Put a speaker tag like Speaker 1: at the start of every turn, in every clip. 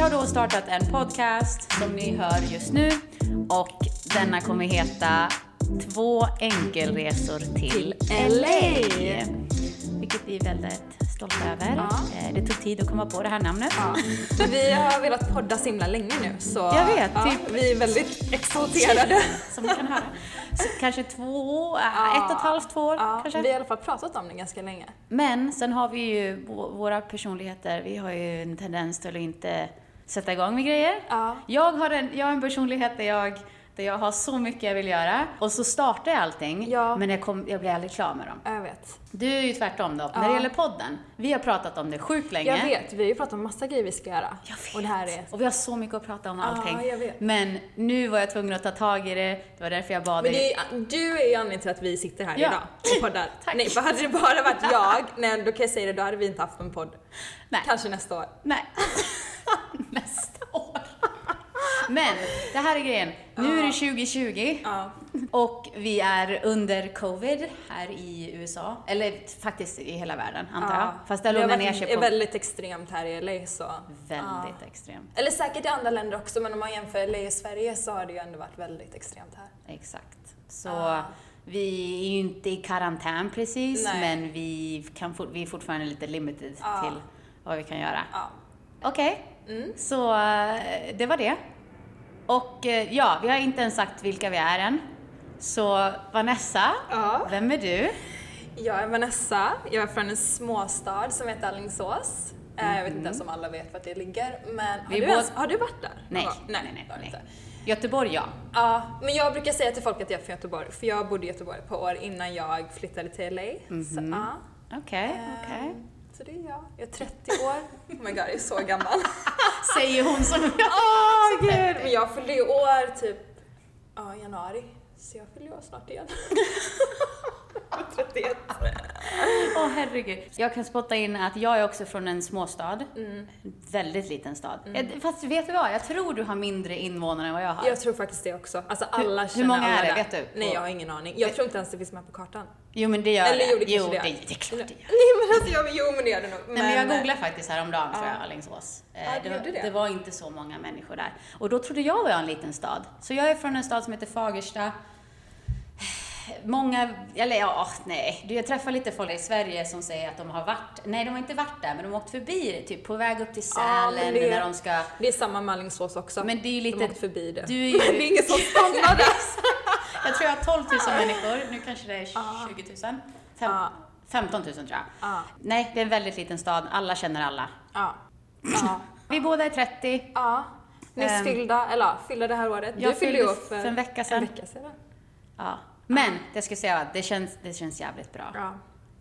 Speaker 1: har då startat en podcast som ni hör just nu och denna kommer heta Två enkelresor till LA. Vilket vi är väldigt stolta över.
Speaker 2: Ja.
Speaker 1: Eh, Det tog tid att komma på det här namnet.
Speaker 2: Ja. Vi har velat podda så himla länge nu så
Speaker 1: Jag vet,
Speaker 2: ja,
Speaker 1: typ-
Speaker 2: vi är väldigt exalterade.
Speaker 1: Som man kan höra. Så kanske två, eh,
Speaker 2: Ja.
Speaker 1: ett och ett halvt, två år
Speaker 2: Ja, vi
Speaker 1: kanske.
Speaker 2: har i alla fall pratat om det ganska länge.
Speaker 1: Men sen har vi ju vå- våra personligheter, vi har ju en tendens till att inte sätta igång med grejer.
Speaker 2: Ja.
Speaker 1: Jag har en, jag har en personlighet där jag, där jag har så mycket jag vill göra och så startar jag allting
Speaker 2: Ja.
Speaker 1: men jag, kom, jag blir aldrig klar med dem.
Speaker 2: Ja, Jag vet.
Speaker 1: Du är ju tvärtom då. När det
Speaker 2: Ja.
Speaker 1: gäller podden, vi har pratat om det sjukt länge.
Speaker 2: Jag vet, vi har ju pratat om massa grejer vi ska göra.
Speaker 1: Jag vet.
Speaker 2: Och det här är...
Speaker 1: Och vi har så mycket att prata om
Speaker 2: Ja,
Speaker 1: allting.
Speaker 2: jag vet.
Speaker 1: Men nu var jag tvungen att ta tag i det, det var därför jag bad
Speaker 3: Men
Speaker 1: dig.
Speaker 3: det är, ju- du är ju anledningen till att vi sitter här
Speaker 1: Ja.
Speaker 3: idag och poddar.
Speaker 1: Tack.
Speaker 3: Nej, för hade det bara varit jag, nej då kan jag säga det, då hade vi inte haft en podd.
Speaker 1: Nej.
Speaker 3: Kanske nästa år.
Speaker 1: Nej. Nästa år. Men det här är grejen. Nu är det 2020
Speaker 3: Ja.
Speaker 1: och vi är under covid här i USA. Eller faktiskt i hela världen antar jag. Fast det
Speaker 3: har
Speaker 1: lugnar
Speaker 3: varit-
Speaker 1: ner sig
Speaker 3: är
Speaker 1: på
Speaker 3: väldigt extremt här i LA så.
Speaker 1: väldigt
Speaker 3: Ja.
Speaker 1: extremt.
Speaker 3: Eller säkert i andra länder också men om man jämför LA och Sverige så har det ju ändå varit väldigt extremt här.
Speaker 1: Exakt. Så
Speaker 3: Ja.
Speaker 1: vi är ju inte i karantän precis
Speaker 3: Nej.
Speaker 1: men vi, kan fort- vi är fortfarande lite limited
Speaker 3: Ja.
Speaker 1: till vad vi kan göra.
Speaker 3: Ja. Mm.
Speaker 1: Okej, så eh, det var det. Och eh, ja, vi har inte ens sagt vilka vi är än. Så Vanessa,
Speaker 3: Ja.
Speaker 1: vem är du?
Speaker 3: Jag är Vanessa, jag är från en småstad som heter Alingsås. Eh, Jag vet inte ens om alla vet vart det ligger men
Speaker 1: Mm-hmm.
Speaker 3: har,
Speaker 1: Vi
Speaker 3: du,
Speaker 1: båda-
Speaker 3: ens, har du varit där?
Speaker 1: Nej,
Speaker 3: Ja,
Speaker 1: nej,
Speaker 3: nej,
Speaker 1: nej.
Speaker 3: det har du
Speaker 1: nej.
Speaker 3: inte.
Speaker 1: Göteborg, ja.
Speaker 3: Ja, men jag brukar säga till folk att jag är från Göteborg, för jag bodde i Göteborg ett par år innan jag flyttade till LA. Så, ja.
Speaker 1: Okej, Mm-hmm.
Speaker 3: Ehm,
Speaker 1: Eh, okej.
Speaker 3: så det är jag. Jag är 30 år. Oh my god, jag är så gammal.
Speaker 1: Säger hon som jag.
Speaker 3: Åh gud! Men jag fyllde ju år typ ja, i januari, så jag fyller ju år snart igen. Jag är 31.
Speaker 1: Åh herregud. Jag kan spotta in att jag är också från en småstad. En Väldigt liten stad. Eh, Fast vet du vad? Jag tror du har mindre invånare än vad jag har.
Speaker 3: Jag tror faktiskt det också. Alltså alla
Speaker 1: hur
Speaker 3: känner
Speaker 1: många är
Speaker 3: alla
Speaker 1: det?
Speaker 3: där.
Speaker 1: Vet du?
Speaker 3: Nej, jag har ingen aning. Jag tror inte ens det finns med på kartan.
Speaker 1: Jo men det gör
Speaker 3: Eller
Speaker 1: det.
Speaker 3: gjorde
Speaker 1: jo,
Speaker 3: kanske
Speaker 1: det.
Speaker 3: det.
Speaker 1: Jo, det är klart det gör.
Speaker 3: Nej men alltså, jag, jo men eh, det gör det nog.
Speaker 1: Nej, men jag googlade faktiskt häromdagen tror jag, Alingsås. Eh,
Speaker 3: Ja, du
Speaker 1: det, var,
Speaker 3: gjorde det.
Speaker 1: det var inte så många människor där. Och då trodde jag var en liten stad. Så jag är från en stad som heter Fagersta. Många, eller ja, ah, nej. Du, Jag träffar lite folk i Sverige som säger att de har varit, nej de har inte varit där, men de har åkt förbi det, typ på väg upp till
Speaker 3: Ja, men
Speaker 1: Sälen
Speaker 3: det-
Speaker 1: när de ska...
Speaker 3: Det är samma med Alingsås också.
Speaker 1: Men det är ju lite-
Speaker 3: De har åkt förbi det.
Speaker 1: Du är ju-
Speaker 3: det är ingen som stannar där.
Speaker 1: Jag tror jag har 12 000 människor, nu kanske det är 20 000. Fem,
Speaker 3: Ja.
Speaker 1: 15 000 tror jag.
Speaker 3: Ja.
Speaker 1: Nej, det är en väldigt liten stad, alla känner alla.
Speaker 3: Ja. Ja.
Speaker 1: Vi båda är 30,
Speaker 3: ja. Nyss
Speaker 1: Ehm,
Speaker 3: fyllda, eller ja, fyllda det här året.
Speaker 1: jag
Speaker 3: du fyllde ju
Speaker 1: fyllde
Speaker 3: upp för
Speaker 1: för en vecka sedan.
Speaker 3: En vecka sedan.
Speaker 1: Ja. Men det jag skulle säga var att det känns, det känns jävligt bra.
Speaker 3: Ja.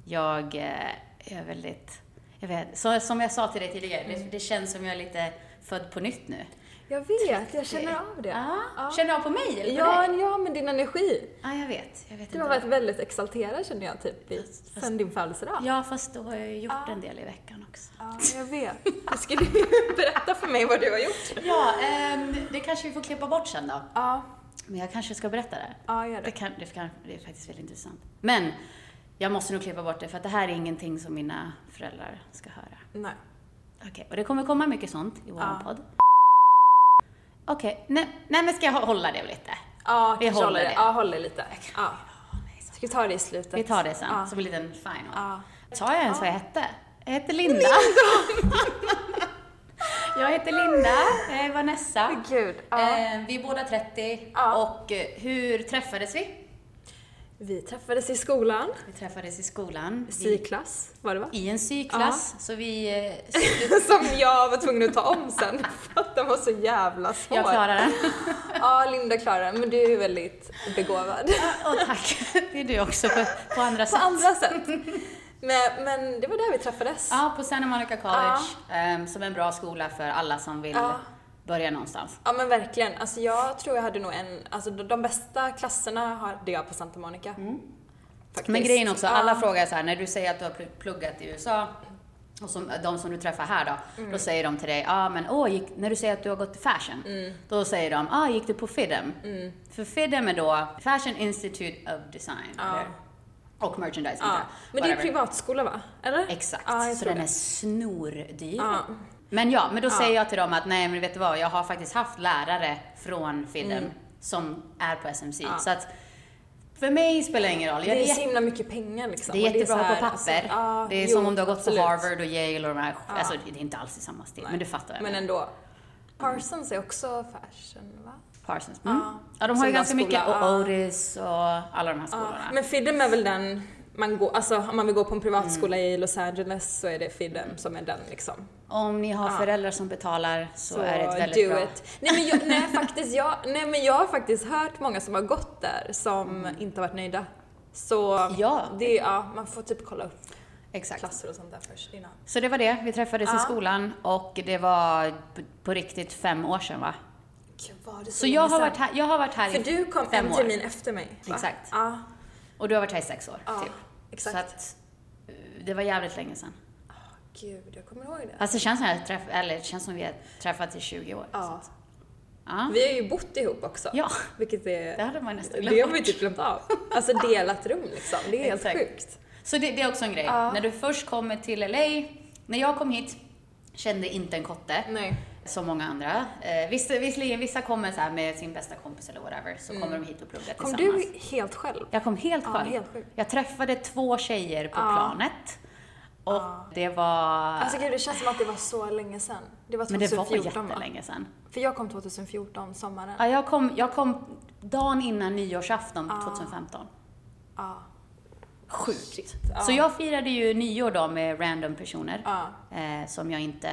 Speaker 1: Jag eh, är väldigt... Jag vet, så, som jag sa till dig tidigare,
Speaker 3: Mm.
Speaker 1: det, det känns som jag är lite född på nytt nu.
Speaker 3: Jag vet, jag känner av det.
Speaker 1: Ah,
Speaker 3: Ja.
Speaker 1: Känner jag på mig eller på
Speaker 3: Ja,
Speaker 1: dig?
Speaker 3: ja, men din energi.
Speaker 1: Ja, jag vet. Jag vet
Speaker 3: Du
Speaker 1: inte.
Speaker 3: har
Speaker 1: vad-
Speaker 3: varit väldigt exalterad känner jag typ i, sen din födelsedag.
Speaker 1: Ja, fast då har jag ju gjort en del i veckan också.
Speaker 3: Ja, jag vet. Du skulle ju berätta för mig vad du har gjort.
Speaker 1: Ja, ehm, det kanske vi får klippa bort sen då.
Speaker 3: Ja,
Speaker 1: Men jag kanske ska berätta det.
Speaker 3: ja gör
Speaker 1: Det,
Speaker 3: det.
Speaker 1: kan, det, kan, det är faktiskt väldigt intressant. Men jag måste nog klippa bort det för att det här är ingenting som mina föräldrar ska höra.
Speaker 3: Nej.
Speaker 1: Okej, och det kommer komma mycket sånt i våran
Speaker 3: Ja.
Speaker 1: podd. Okej, nej, nej men ska jag hå- hålla det lite?
Speaker 3: Ja,
Speaker 1: Vi
Speaker 3: kanske
Speaker 1: håller
Speaker 3: håller det.
Speaker 1: det.
Speaker 3: Ja, håller lite. Ja. Ska vi ta det i slutet?
Speaker 1: Vi tar det sen,
Speaker 3: Ja.
Speaker 1: som en liten final.
Speaker 3: Ja.
Speaker 1: Sa jag ens vad jag hette? Jag heter Linda. jag heter Linda, jag är Vanessa.
Speaker 3: Gud.
Speaker 1: Eh, Vi är båda 30
Speaker 3: Ja.
Speaker 1: och eh, hur träffades vi?
Speaker 3: Vi träffades i skolan,
Speaker 1: Vi träffades i skolan. Vi-
Speaker 3: syklass var det va?
Speaker 1: I en syklass, så vi... eh, s-
Speaker 3: Som jag var tvungen att ta om sen för att den var så jävla svår.
Speaker 1: Jag klarar den.
Speaker 3: Ja, Linda klarar den, men du är väldigt begåvad.
Speaker 1: Och tack, det är du också på, på andra
Speaker 3: På
Speaker 1: sätt.
Speaker 3: andra sätt. Men, men det var där vi träffades.
Speaker 1: Ja, på Santa Monica College, ehm, som är en bra skola för alla som vill
Speaker 3: Ja.
Speaker 1: börja någonstans.
Speaker 3: Ja men verkligen. Alltså jag tror jag hade nog en, alltså de, de bästa klasserna hade jag på Santa Monica. Faktiskt.
Speaker 1: Mm. Men grejen också,
Speaker 3: Ja.
Speaker 1: alla frågar så här, när du säger att du har pl- pluggat i USA, och som, de som du träffar här då,
Speaker 3: Mm.
Speaker 1: då säger de till dig, ja ah, men åh, gick, när du säger att du har gått till fashion,
Speaker 3: Mm.
Speaker 1: då säger de, ah, gick du på FIDEM? För FIDEM är då Fashion Institute of Design, eller? Och merchandising
Speaker 3: Ja.
Speaker 1: tror jag.
Speaker 3: Men det är
Speaker 1: Whatever.
Speaker 3: privatskola va? Eller?
Speaker 1: Exakt,
Speaker 3: Ja, jag
Speaker 1: så
Speaker 3: tror
Speaker 1: den
Speaker 3: det.
Speaker 1: är snordyr.
Speaker 3: Ja.
Speaker 1: Men ja, men då
Speaker 3: Ja.
Speaker 1: säger jag till dem att nej men vet du vad, jag har faktiskt haft lärare från Fidem som är på SMC.
Speaker 3: Mm. Ja.
Speaker 1: Så att för mig spelar det ingen roll. Jag
Speaker 3: Det är
Speaker 1: vet-
Speaker 3: så himla mycket pengar liksom.
Speaker 1: det är
Speaker 3: och
Speaker 1: jättebra
Speaker 3: så
Speaker 1: på
Speaker 3: här-
Speaker 1: papper.
Speaker 3: ja,
Speaker 1: det är
Speaker 3: jo,
Speaker 1: som om du har gått
Speaker 3: absolut.
Speaker 1: på Harvard och Yale och de här.
Speaker 3: Ja.
Speaker 1: Alltså det är inte alls i samma stil,
Speaker 3: Nej.
Speaker 1: men du fattar vad jag
Speaker 3: Men
Speaker 1: menar.
Speaker 3: ändå. Parsons är också fashion va?
Speaker 1: Parsons. Mm.
Speaker 3: Ja.
Speaker 1: Ja, de har ju ganska mycket.
Speaker 3: Söndagsskola,
Speaker 1: Och
Speaker 3: ja.
Speaker 1: Otis och alla de här
Speaker 3: Ja,
Speaker 1: skolorna.
Speaker 3: men Fidem är väl den man går, alltså om man vill gå på en privatskola
Speaker 1: Mm.
Speaker 3: i Los Angeles så är det Fidem som är den liksom.
Speaker 1: Om ni har
Speaker 3: Ja.
Speaker 1: föräldrar som betalar så,
Speaker 3: Så
Speaker 1: är det ett väldigt
Speaker 3: do
Speaker 1: bra...
Speaker 3: it. Nej men, jag, nej, faktiskt, jag, nej men jag har faktiskt hört många som har gått där som inte har varit nöjda. Så
Speaker 1: Ja.
Speaker 3: Det, Mm. ja, man får typ kolla upp
Speaker 1: Exakt.
Speaker 3: klasser och sånt där först innan.
Speaker 1: Så det var det. Vi träffades i
Speaker 3: Ja.
Speaker 1: skolan och det var p- på riktigt fem år sedan va?
Speaker 3: Gud, var det
Speaker 1: Så jag har
Speaker 3: länge
Speaker 1: varit här, jag har varit här
Speaker 3: sedan?
Speaker 1: i
Speaker 3: För du kom
Speaker 1: fem
Speaker 3: en
Speaker 1: år.
Speaker 3: termin efter mig. va?
Speaker 1: Exakt.
Speaker 3: Ja,
Speaker 1: och du har varit här i sex år.
Speaker 3: ja
Speaker 1: typ.
Speaker 3: exakt.
Speaker 1: Så att eh, det var jävligt länge sedan.
Speaker 3: Gud, jag kommer ihåg det.
Speaker 1: Fast det känns som, jag träff, eller, det känns som vi har träffats i 20 år. så
Speaker 3: Ja.
Speaker 1: att- Ja.
Speaker 3: Vi har ju bott ihop också.
Speaker 1: ja,
Speaker 3: Vilket är...
Speaker 1: det hade man nästan
Speaker 3: Det har
Speaker 1: glömt.
Speaker 3: vi typ glömt av. Alltså delat rum liksom. Det är helt
Speaker 1: Exakt.
Speaker 3: sjukt.
Speaker 1: Så det, det är också en grej.
Speaker 3: Ja.
Speaker 1: När du först kommer till LA, när jag kom hit, kände inte en kotte.
Speaker 3: Nej.
Speaker 1: som många andra. Eh, vissa, visserligen, vissa kommer så här med sin bästa kompis eller whatever, så kommer de hit och pluggar
Speaker 3: Mm. Kom
Speaker 1: tillsammans.
Speaker 3: du helt själv?
Speaker 1: Jag kom helt
Speaker 3: Ja,
Speaker 1: själv.
Speaker 3: helt sjukt.
Speaker 1: jag träffade två tjejer på
Speaker 3: Ja.
Speaker 1: planet. Och det var...
Speaker 3: Alltså gud, det känns som att det var så länge sedan. Det var
Speaker 1: men det
Speaker 3: 2014
Speaker 1: var
Speaker 3: va?
Speaker 1: jättelänge sedan.
Speaker 3: För jag kom 2014, sommaren.
Speaker 1: Ja, jag, kom, jag kom dagen innan nyårsafton
Speaker 3: Ja.
Speaker 1: 2015.
Speaker 3: Ja.
Speaker 1: Sjukt.
Speaker 3: Shit, ja.
Speaker 1: Så jag firade ju nyår då med random personer
Speaker 3: Ja.
Speaker 1: eh, som jag inte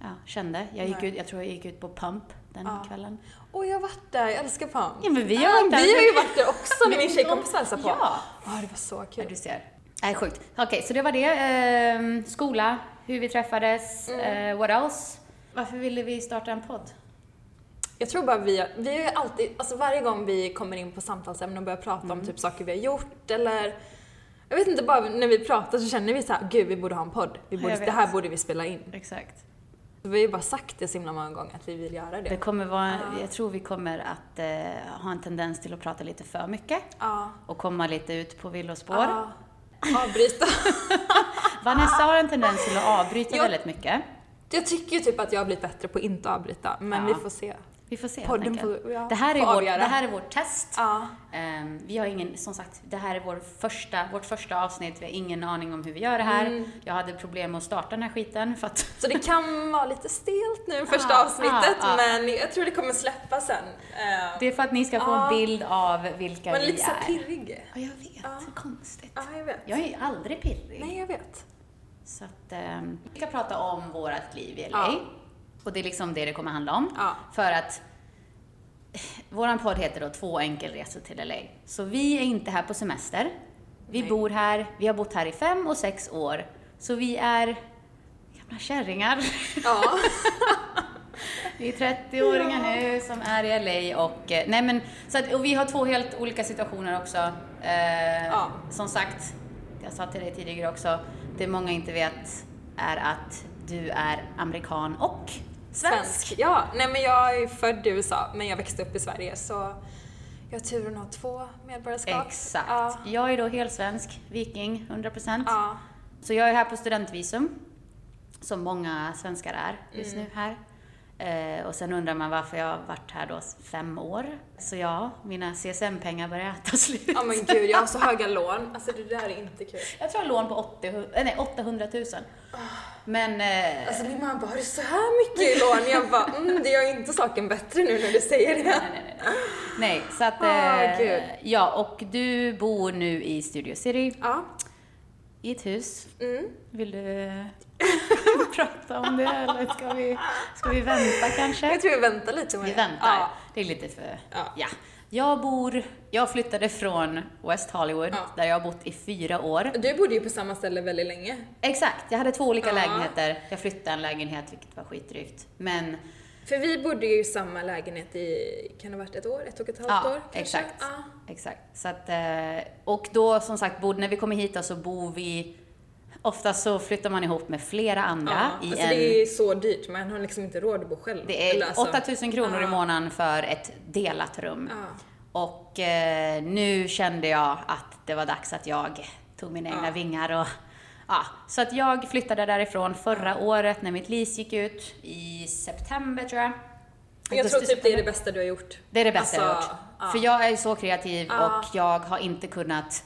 Speaker 1: ja, kände. Jag, gick
Speaker 3: Nej.
Speaker 1: ut, jag tror jag gick ut på Pump den
Speaker 3: Ja.
Speaker 1: kvällen.
Speaker 3: Och jag har varit där, jag älskar Pam.
Speaker 1: Ja, men vi har
Speaker 3: Ah,
Speaker 1: varit där.
Speaker 3: Vi har ju varit där också när min tjejkompis
Speaker 1: de-
Speaker 3: hälsade på.
Speaker 1: Ja.
Speaker 3: Ah, det var så
Speaker 1: Ja,
Speaker 3: kul.
Speaker 1: du ser. Nej, sjukt. Okej, så det var det. Ehm, skola, hur vi träffades,
Speaker 3: Mm.
Speaker 1: eh, what else? Varför ville vi starta en podd?
Speaker 3: Jag tror bara vi, har- vi har ju alltid, alltså varje gång vi kommer in på samtalsämnen och börjar prata
Speaker 1: Mm.
Speaker 3: om typ saker vi har gjort eller jag vet inte, bara när vi pratar så känner vi så här, gud vi borde ha en podd. Vi
Speaker 1: Ja,
Speaker 3: borde,
Speaker 1: jag vet.
Speaker 3: det här borde vi spela in.
Speaker 1: Exakt.
Speaker 3: Vi har ju bara sagt det så himla många gånger att vi vill göra
Speaker 1: Det
Speaker 3: det.
Speaker 1: kommer vara, jag tror vi kommer att eh, ha en tendens till att prata lite för mycket
Speaker 3: Ja.
Speaker 1: och komma lite ut på villospår.
Speaker 3: Ja. Avbryta.
Speaker 1: Vanessa har en tendens till att avbryta
Speaker 3: Ja.
Speaker 1: väldigt mycket.
Speaker 3: Jag tycker ju typ att jag har blivit bättre på att inte avbryta, men
Speaker 1: Ja.
Speaker 3: vi får se.
Speaker 1: Vi får se helt
Speaker 3: Podden
Speaker 1: enkelt.
Speaker 3: får- ja,
Speaker 1: det, här är
Speaker 3: får
Speaker 1: vår, det
Speaker 3: avgöra.
Speaker 1: här är vårt test.
Speaker 3: Ja.
Speaker 1: Ehm, vi har ingen, som sagt, det här är vår första, vårt första avsnitt. Vi har ingen aning om hur vi gör det här.
Speaker 3: Mm.
Speaker 1: Jag hade problem med att starta den här skiten för att
Speaker 3: Så det kan vara lite stelt nu första
Speaker 1: Ja,
Speaker 3: avsnittet,
Speaker 1: ja, ja.
Speaker 3: men jag tror det kommer släppa sen. Eh,
Speaker 1: Det är för att ni ska få
Speaker 3: Ja.
Speaker 1: en bild av vilka
Speaker 3: man är
Speaker 1: vi
Speaker 3: lite så här
Speaker 1: är.
Speaker 3: pirrig.
Speaker 1: Ja, jag vet.
Speaker 3: Ja.
Speaker 1: Konstigt.
Speaker 3: Ja, jag vet.
Speaker 1: Jag är ju aldrig pirrig.
Speaker 3: Nej, jag vet.
Speaker 1: Så att, ehm, vi ska prata om vårt liv i LA.
Speaker 3: Ja.
Speaker 1: Och det är liksom det det kommer handla om.
Speaker 3: Ja.
Speaker 1: För att eh, våran podd heter då Två enkelresor till LA. Så vi är inte här på semester. Vi
Speaker 3: Nej.
Speaker 1: bor här, vi har bott här i fem och sex år. Så vi är gamla kärringar.
Speaker 3: Ja.
Speaker 1: Vi är 30-åringar nu som är i LA och, eh, nej men, så att, och vi har två helt olika situationer också. Eh,
Speaker 3: Ja.
Speaker 1: Som sagt, jag sa till dig tidigare också, det många inte vet är att du är amerikan och svensk.
Speaker 3: Ja, nej men jag är född i USA, men jag växte upp i Sverige, så jag har turen att ha två medborgarskap.
Speaker 1: Exakt.
Speaker 3: Ja.
Speaker 1: Jag är då helt svensk, viking, 100%.
Speaker 3: ja.
Speaker 1: Så jag är här på studentvisum, som många svenskar är just
Speaker 3: Mm.
Speaker 1: nu här. Eh, och sen undrar man varför jag har varit här då fem år. Så ja, mina CSN-pengar börjar ta slut.
Speaker 3: Ja men gud, jag har så höga lån. Alltså det där är inte kul.
Speaker 1: Jag tror jag har lån på 80, hu- eh, nej, 800 000. Men eh,
Speaker 3: Alltså min mamma bara, har du så här mycket i lån? Jag bara, mm, det gör inte saken bättre nu när du säger det.
Speaker 1: nej, nej, nej. nej, så att...
Speaker 3: Ah,
Speaker 1: eh,
Speaker 3: gud.
Speaker 1: ja, och du bor nu i Studio City,
Speaker 3: Ja.
Speaker 1: i ett hus.
Speaker 3: Mm.
Speaker 1: Vill du eh, prata om det eller ska vi, ska vi vänta kanske?
Speaker 3: Jag tror vi väntar lite med
Speaker 1: Vi
Speaker 3: det.
Speaker 1: väntar.
Speaker 3: Ja.
Speaker 1: Det är lite för...
Speaker 3: Ja.
Speaker 1: Ja. Jag bor... Jag flyttade från West Hollywood,
Speaker 3: Ja.
Speaker 1: där jag har bott i fyra år.
Speaker 3: Du bodde ju på samma ställe väldigt länge.
Speaker 1: Exakt, jag hade två olika
Speaker 3: Ja.
Speaker 1: lägenheter. Jag flyttade en lägenhet, vilket var skitdrygt. Men
Speaker 3: För vi bodde ju i samma lägenhet i, kan det ha varit ett år? Ett och ett halvt
Speaker 1: Ja,
Speaker 3: år kanske?
Speaker 1: exakt.
Speaker 3: Ja.
Speaker 1: Exakt. Så att, eh, och då som sagt, bod, när vi kommer hit då, så bor vi Ofta så flyttar man ihop med flera andra
Speaker 3: Ja,
Speaker 1: i
Speaker 3: alltså
Speaker 1: en...
Speaker 3: det är så dyrt, man har liksom inte råd att bo själv.
Speaker 1: det
Speaker 3: Eller
Speaker 1: är
Speaker 3: alltså,
Speaker 1: 8000 kronor i
Speaker 3: ja.
Speaker 1: månaden för ett delat rum.
Speaker 3: Ja.
Speaker 1: Och eh, nu kände jag att det var dags att jag tog mina egna
Speaker 3: Ja.
Speaker 1: vingar och, Ja, så att jag flyttade därifrån förra året när mitt lease gick ut i september tror jag.
Speaker 3: Jag tror typ det är det bästa du har gjort.
Speaker 1: Det är det bästa jag har
Speaker 3: Alltså,
Speaker 1: gjort.
Speaker 3: ja.
Speaker 1: För jag är så kreativ
Speaker 3: Ja.
Speaker 1: och jag har inte kunnat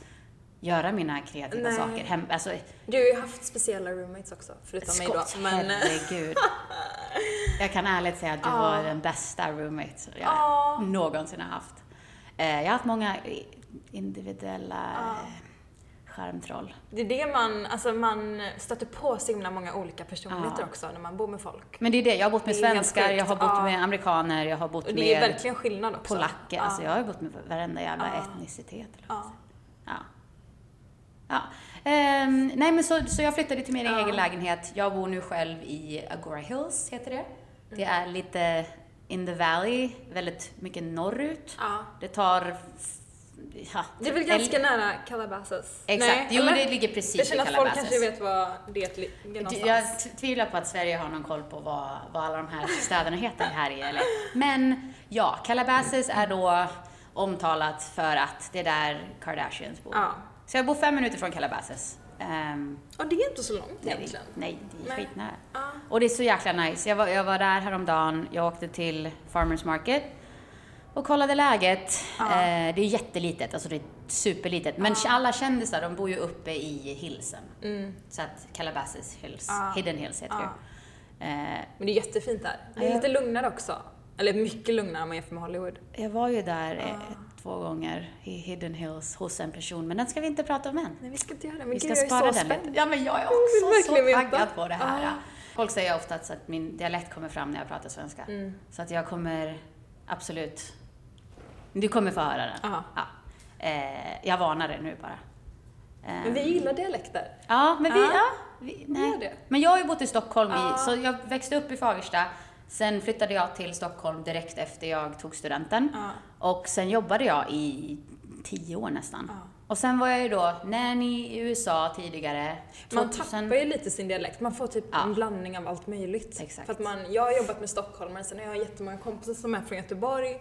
Speaker 1: göra mina kreativa
Speaker 3: Nej.
Speaker 1: saker hem. Alltså,
Speaker 3: Du har ju haft speciella roommates också, förutom mig då.
Speaker 1: skott,
Speaker 3: Men, eh,
Speaker 1: herregud. Jag kan ärligt säga att du var den bästa roommate som jag
Speaker 3: Ja.
Speaker 1: någonsin har haft. Eh, Jag har haft många i- individuella
Speaker 3: Ja.
Speaker 1: eh, skärmtroll.
Speaker 3: det är det man, alltså man stöter på så himla många olika personligheter
Speaker 1: Ja.
Speaker 3: också när man bor med folk.
Speaker 1: Men det är det, jag har bott med
Speaker 3: Det är helt
Speaker 1: svenskar, jag har
Speaker 3: sjukt.
Speaker 1: bott
Speaker 3: Ja.
Speaker 1: med amerikaner, jag har bott
Speaker 3: Och
Speaker 1: med
Speaker 3: det är verkligen skillnad också.
Speaker 1: polacker. Alltså
Speaker 3: Ja.
Speaker 1: jag har ju bott med varenda jävla
Speaker 3: Ja.
Speaker 1: etnicitet. Eller vad man
Speaker 3: Ja.
Speaker 1: Ja. ja. Ehm, nej men så, så jag flyttade till min
Speaker 3: Ja.
Speaker 1: egen lägenhet. Jag bor nu själv i Agora Hills, heter det. Det är lite in the valley, väldigt mycket norrut.
Speaker 3: Ja.
Speaker 1: Det tar... Ja,
Speaker 3: Det är väl
Speaker 1: typ
Speaker 3: ganska
Speaker 1: el-
Speaker 3: nära Calabasas?
Speaker 1: Exakt, jo
Speaker 3: eller?
Speaker 1: det ligger precis
Speaker 3: Jag känner
Speaker 1: i
Speaker 3: att folk
Speaker 1: Calabasas.
Speaker 3: kanske vet vad det ligger
Speaker 1: Du,
Speaker 3: någonstans.
Speaker 1: Jag t- tvivlar på att Sverige har någon koll på vad, vad alla de här städerna heter här i eller. Men ja, Calabasas är då omtalat för att det är där Kardashians bor.
Speaker 3: Ja.
Speaker 1: Så jag bor fem minuter från Calabasas. Ehm,
Speaker 3: Ja, det är inte så långt
Speaker 1: nej, det-
Speaker 3: egentligen.
Speaker 1: nej, det är
Speaker 3: Nej.
Speaker 1: skitnära.
Speaker 3: Ja.
Speaker 1: Och det är så jäkla nice. Jag var, jag var där häromdagen, jag åkte till Farmers Market och kollade läget. Eh, det är jättelitet, alltså det är superlitet. Men alla kändisar, de bor ju uppe i hillsen. Så att Calabasas Hills, Hidden Hills heter det. Eh,
Speaker 3: Men det är jättefint där. Det är
Speaker 1: Ja.
Speaker 3: lite lugnare också. Eller mycket lugnare om man jämför med Hollywood.
Speaker 1: jag var ju där eh, två gånger i Hidden Hills hos en person, men den ska vi inte prata om än.
Speaker 3: Nej, vi ska inte göra det.
Speaker 1: Vi
Speaker 3: Men
Speaker 1: ska
Speaker 3: gud, jag är
Speaker 1: spara
Speaker 3: så
Speaker 1: den lite.
Speaker 3: spänd.
Speaker 1: Ja, men jag är
Speaker 3: vill
Speaker 1: också så
Speaker 3: verkligen veta.
Speaker 1: taggad på det här.
Speaker 3: Ja.
Speaker 1: Folk säger ofta att så att min dialekt kommer fram när jag pratar svenska.
Speaker 3: Mm.
Speaker 1: Så att jag kommer absolut... Du kommer få höra den.
Speaker 3: Ja.
Speaker 1: Ja. Eh, jag varnar dig nu bara. Eh,
Speaker 3: Men vi gillar dialekter.
Speaker 1: Ja, men vi...
Speaker 3: Ja.
Speaker 1: Ja. Vi,
Speaker 3: gör det.
Speaker 1: nej. Men jag har ju bott i Stockholm, i, så jag växte upp i Fagersta. Sen flyttade jag till Stockholm direkt efter jag tog studenten.
Speaker 3: Ja.
Speaker 1: Och sen jobbade jag i tio år nästan.
Speaker 3: Ja.
Speaker 1: Och sen var jag ju då nanny i USA tidigare.
Speaker 3: Man
Speaker 1: 2000
Speaker 3: tappar ju lite sin dialekt. Man får typ
Speaker 1: Ja.
Speaker 3: en blandning av allt möjligt.
Speaker 1: Exakt.
Speaker 3: För att man, jag har jobbat med stockholmare, sen har jag jättemånga kompisar som är från Göteborg.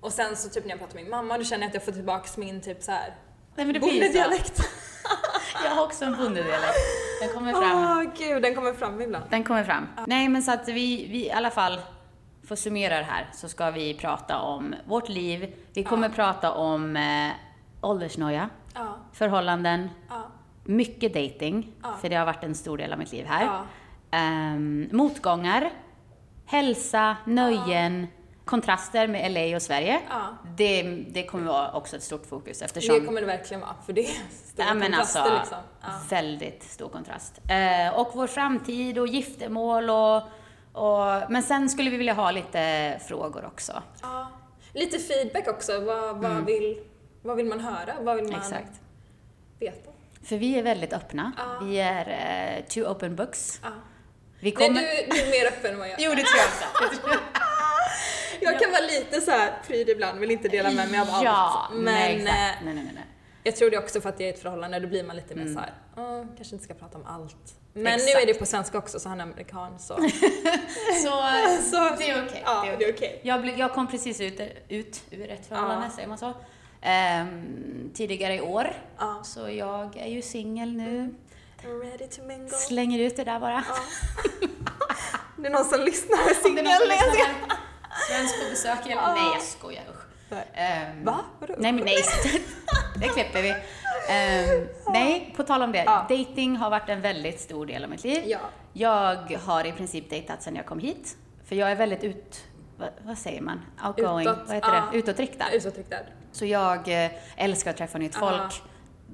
Speaker 3: Och sen så typ när jag pratar med min mamma, då känner jag att jag får tillbaks min typ så här
Speaker 1: Nej men det blir ju så.
Speaker 3: bondedialekt.
Speaker 1: Jag har också en bondedialekt. Den kommer fram.
Speaker 3: Åh Ah, gud, den kommer fram ibland.
Speaker 1: Den kommer fram. Nej men så att vi, vi i alla fall, för att summera det här, så ska vi prata om vårt liv. Vi kommer prata om eh, åldersnoja,
Speaker 3: Ja,
Speaker 1: förhållanden,
Speaker 3: ja,
Speaker 1: mycket dating,
Speaker 3: Ja.
Speaker 1: för det har varit en stor del av mitt liv här.
Speaker 3: ja.
Speaker 1: Ehm, motgångar, hälsa, nöjen, kontraster med LA och Sverige.
Speaker 3: Ja.
Speaker 1: Det, det kommer vara också ett stort fokus eftersom...
Speaker 3: Det kommer det verkligen vara, för det är stora
Speaker 1: Ja, men
Speaker 3: kontraster
Speaker 1: alltså,
Speaker 3: liksom. Ja.
Speaker 1: Väldigt stor kontrast. Eh, och vår framtid och giftermål och, och... Men sen skulle vi vilja ha lite frågor också.
Speaker 3: Ja. Lite feedback också, vad, vad, vill, vad vill man höra? Vad vill man
Speaker 1: Mm. Exakt.
Speaker 3: veta?
Speaker 1: För vi är väldigt öppna.
Speaker 3: Ja.
Speaker 1: Vi är eh, two open books.
Speaker 3: Ja.
Speaker 1: Vi
Speaker 3: Nej,
Speaker 1: kommer...
Speaker 3: du, du är mer öppen än vad jag är.
Speaker 1: Jo, det tror jag också. Det tror jag.
Speaker 3: Jag kan vara lite så här pryd ibland, vill inte dela med mig av allt.
Speaker 1: Ja,
Speaker 3: men
Speaker 1: nej, exakt.
Speaker 3: eh,
Speaker 1: Nej, nej, nej, nej.
Speaker 3: jag tror det är också för att jag är i ett förhållande, då blir man lite mer så här, "Åh, kanske inte ska prata om allt. Men nu
Speaker 1: Exakt.
Speaker 3: är det på svenska också, så han är amerikan så.
Speaker 1: Så,
Speaker 3: så
Speaker 1: det är okej.
Speaker 3: Ja,
Speaker 1: det är
Speaker 3: det
Speaker 1: okej.
Speaker 3: är okej.
Speaker 1: Jag, blev, jag kom precis ut, ut ur ett förhållande,
Speaker 3: Ja.
Speaker 1: säger man så? Ehm, tidigare i år.
Speaker 3: Ja.
Speaker 1: Så jag är ju singel
Speaker 3: Mm.
Speaker 1: nu.
Speaker 3: Ready to mingle.
Speaker 1: Slänger ut det där bara.
Speaker 3: Det är någon som lyssnar med
Speaker 1: Om det är
Speaker 3: singel.
Speaker 1: någon som lyssnar här, Svensk på besök igen.
Speaker 3: Ja.
Speaker 1: Nej, jag skojar. Usch.
Speaker 3: Nej.
Speaker 1: Ehm,
Speaker 3: Va? Vadå?
Speaker 1: Nej, men nej. det klipper vi. Ehm, nej, på tal om det.
Speaker 3: Ja.
Speaker 1: Dating har varit en väldigt stor del av mitt liv.
Speaker 3: Ja.
Speaker 1: Jag har i princip dejtat sedan jag kom hit. För jag är väldigt ut... Vad, vad säger man? Outgoing?
Speaker 3: Utåt,
Speaker 1: vad heter
Speaker 3: ja.
Speaker 1: det? Utåtriktad.
Speaker 3: Utåtriktad.
Speaker 1: Så jag eh, älskar att träffa nytt
Speaker 3: Aha.
Speaker 1: folk.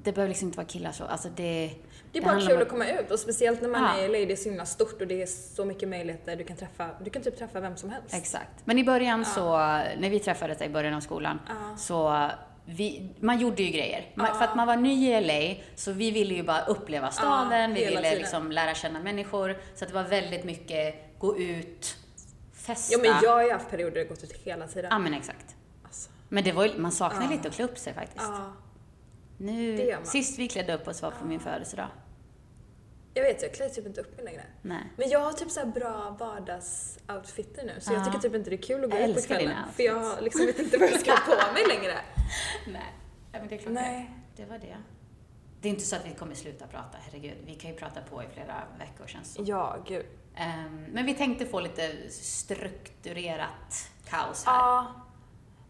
Speaker 1: Det behöver liksom inte vara killar så. Alltså det...
Speaker 3: Det är bara
Speaker 1: handlar
Speaker 3: kul
Speaker 1: om- Ah.
Speaker 3: att komma ut och speciellt när man
Speaker 1: Ja.
Speaker 3: är i LA, det är så himla stort och det är så mycket möjligheter. Du kan träffa, du kan typ träffa vem som helst.
Speaker 1: Exakt. Men i början så, när vi träffades i början av skolan, så vi, man gjorde ju grejer. Man, För att man var ny i LA, så vi ville ju bara uppleva staden, vi
Speaker 3: hela
Speaker 1: ville
Speaker 3: tiden.
Speaker 1: liksom lära känna människor. Så att det var väldigt mycket gå ut, festa.
Speaker 3: Ja men jag har ju haft perioder där jag gått ut hela tiden.
Speaker 1: Ja men exakt.
Speaker 3: Alltså,
Speaker 1: Men det var ju, man saknar lite att klä upp sig faktiskt.
Speaker 3: ja. det
Speaker 1: Nu,
Speaker 3: gör man.
Speaker 1: sist vi klädde upp oss var på min födelsedag.
Speaker 3: Jag vet, jag klär typ inte upp mig längre.
Speaker 1: Nej.
Speaker 3: Men jag har typ så här bra vardagsoutfitter nu så jag
Speaker 1: Ja.
Speaker 3: tycker typ inte det är kul att gå
Speaker 1: Ah. Jag
Speaker 3: ut på
Speaker 1: älskar dina
Speaker 3: kvällen. För jag liksom vet inte vad jag ska ha på mig längre.
Speaker 1: Nej. Ja, men det är klart
Speaker 3: Nej.
Speaker 1: det. Det var det. Det är inte så att vi kommer sluta prata, herregud. Vi kan ju prata på i flera veckor känns det
Speaker 3: Ja, gud.
Speaker 1: Ehm, Men vi tänkte få lite strukturerat kaos här.
Speaker 3: Ja.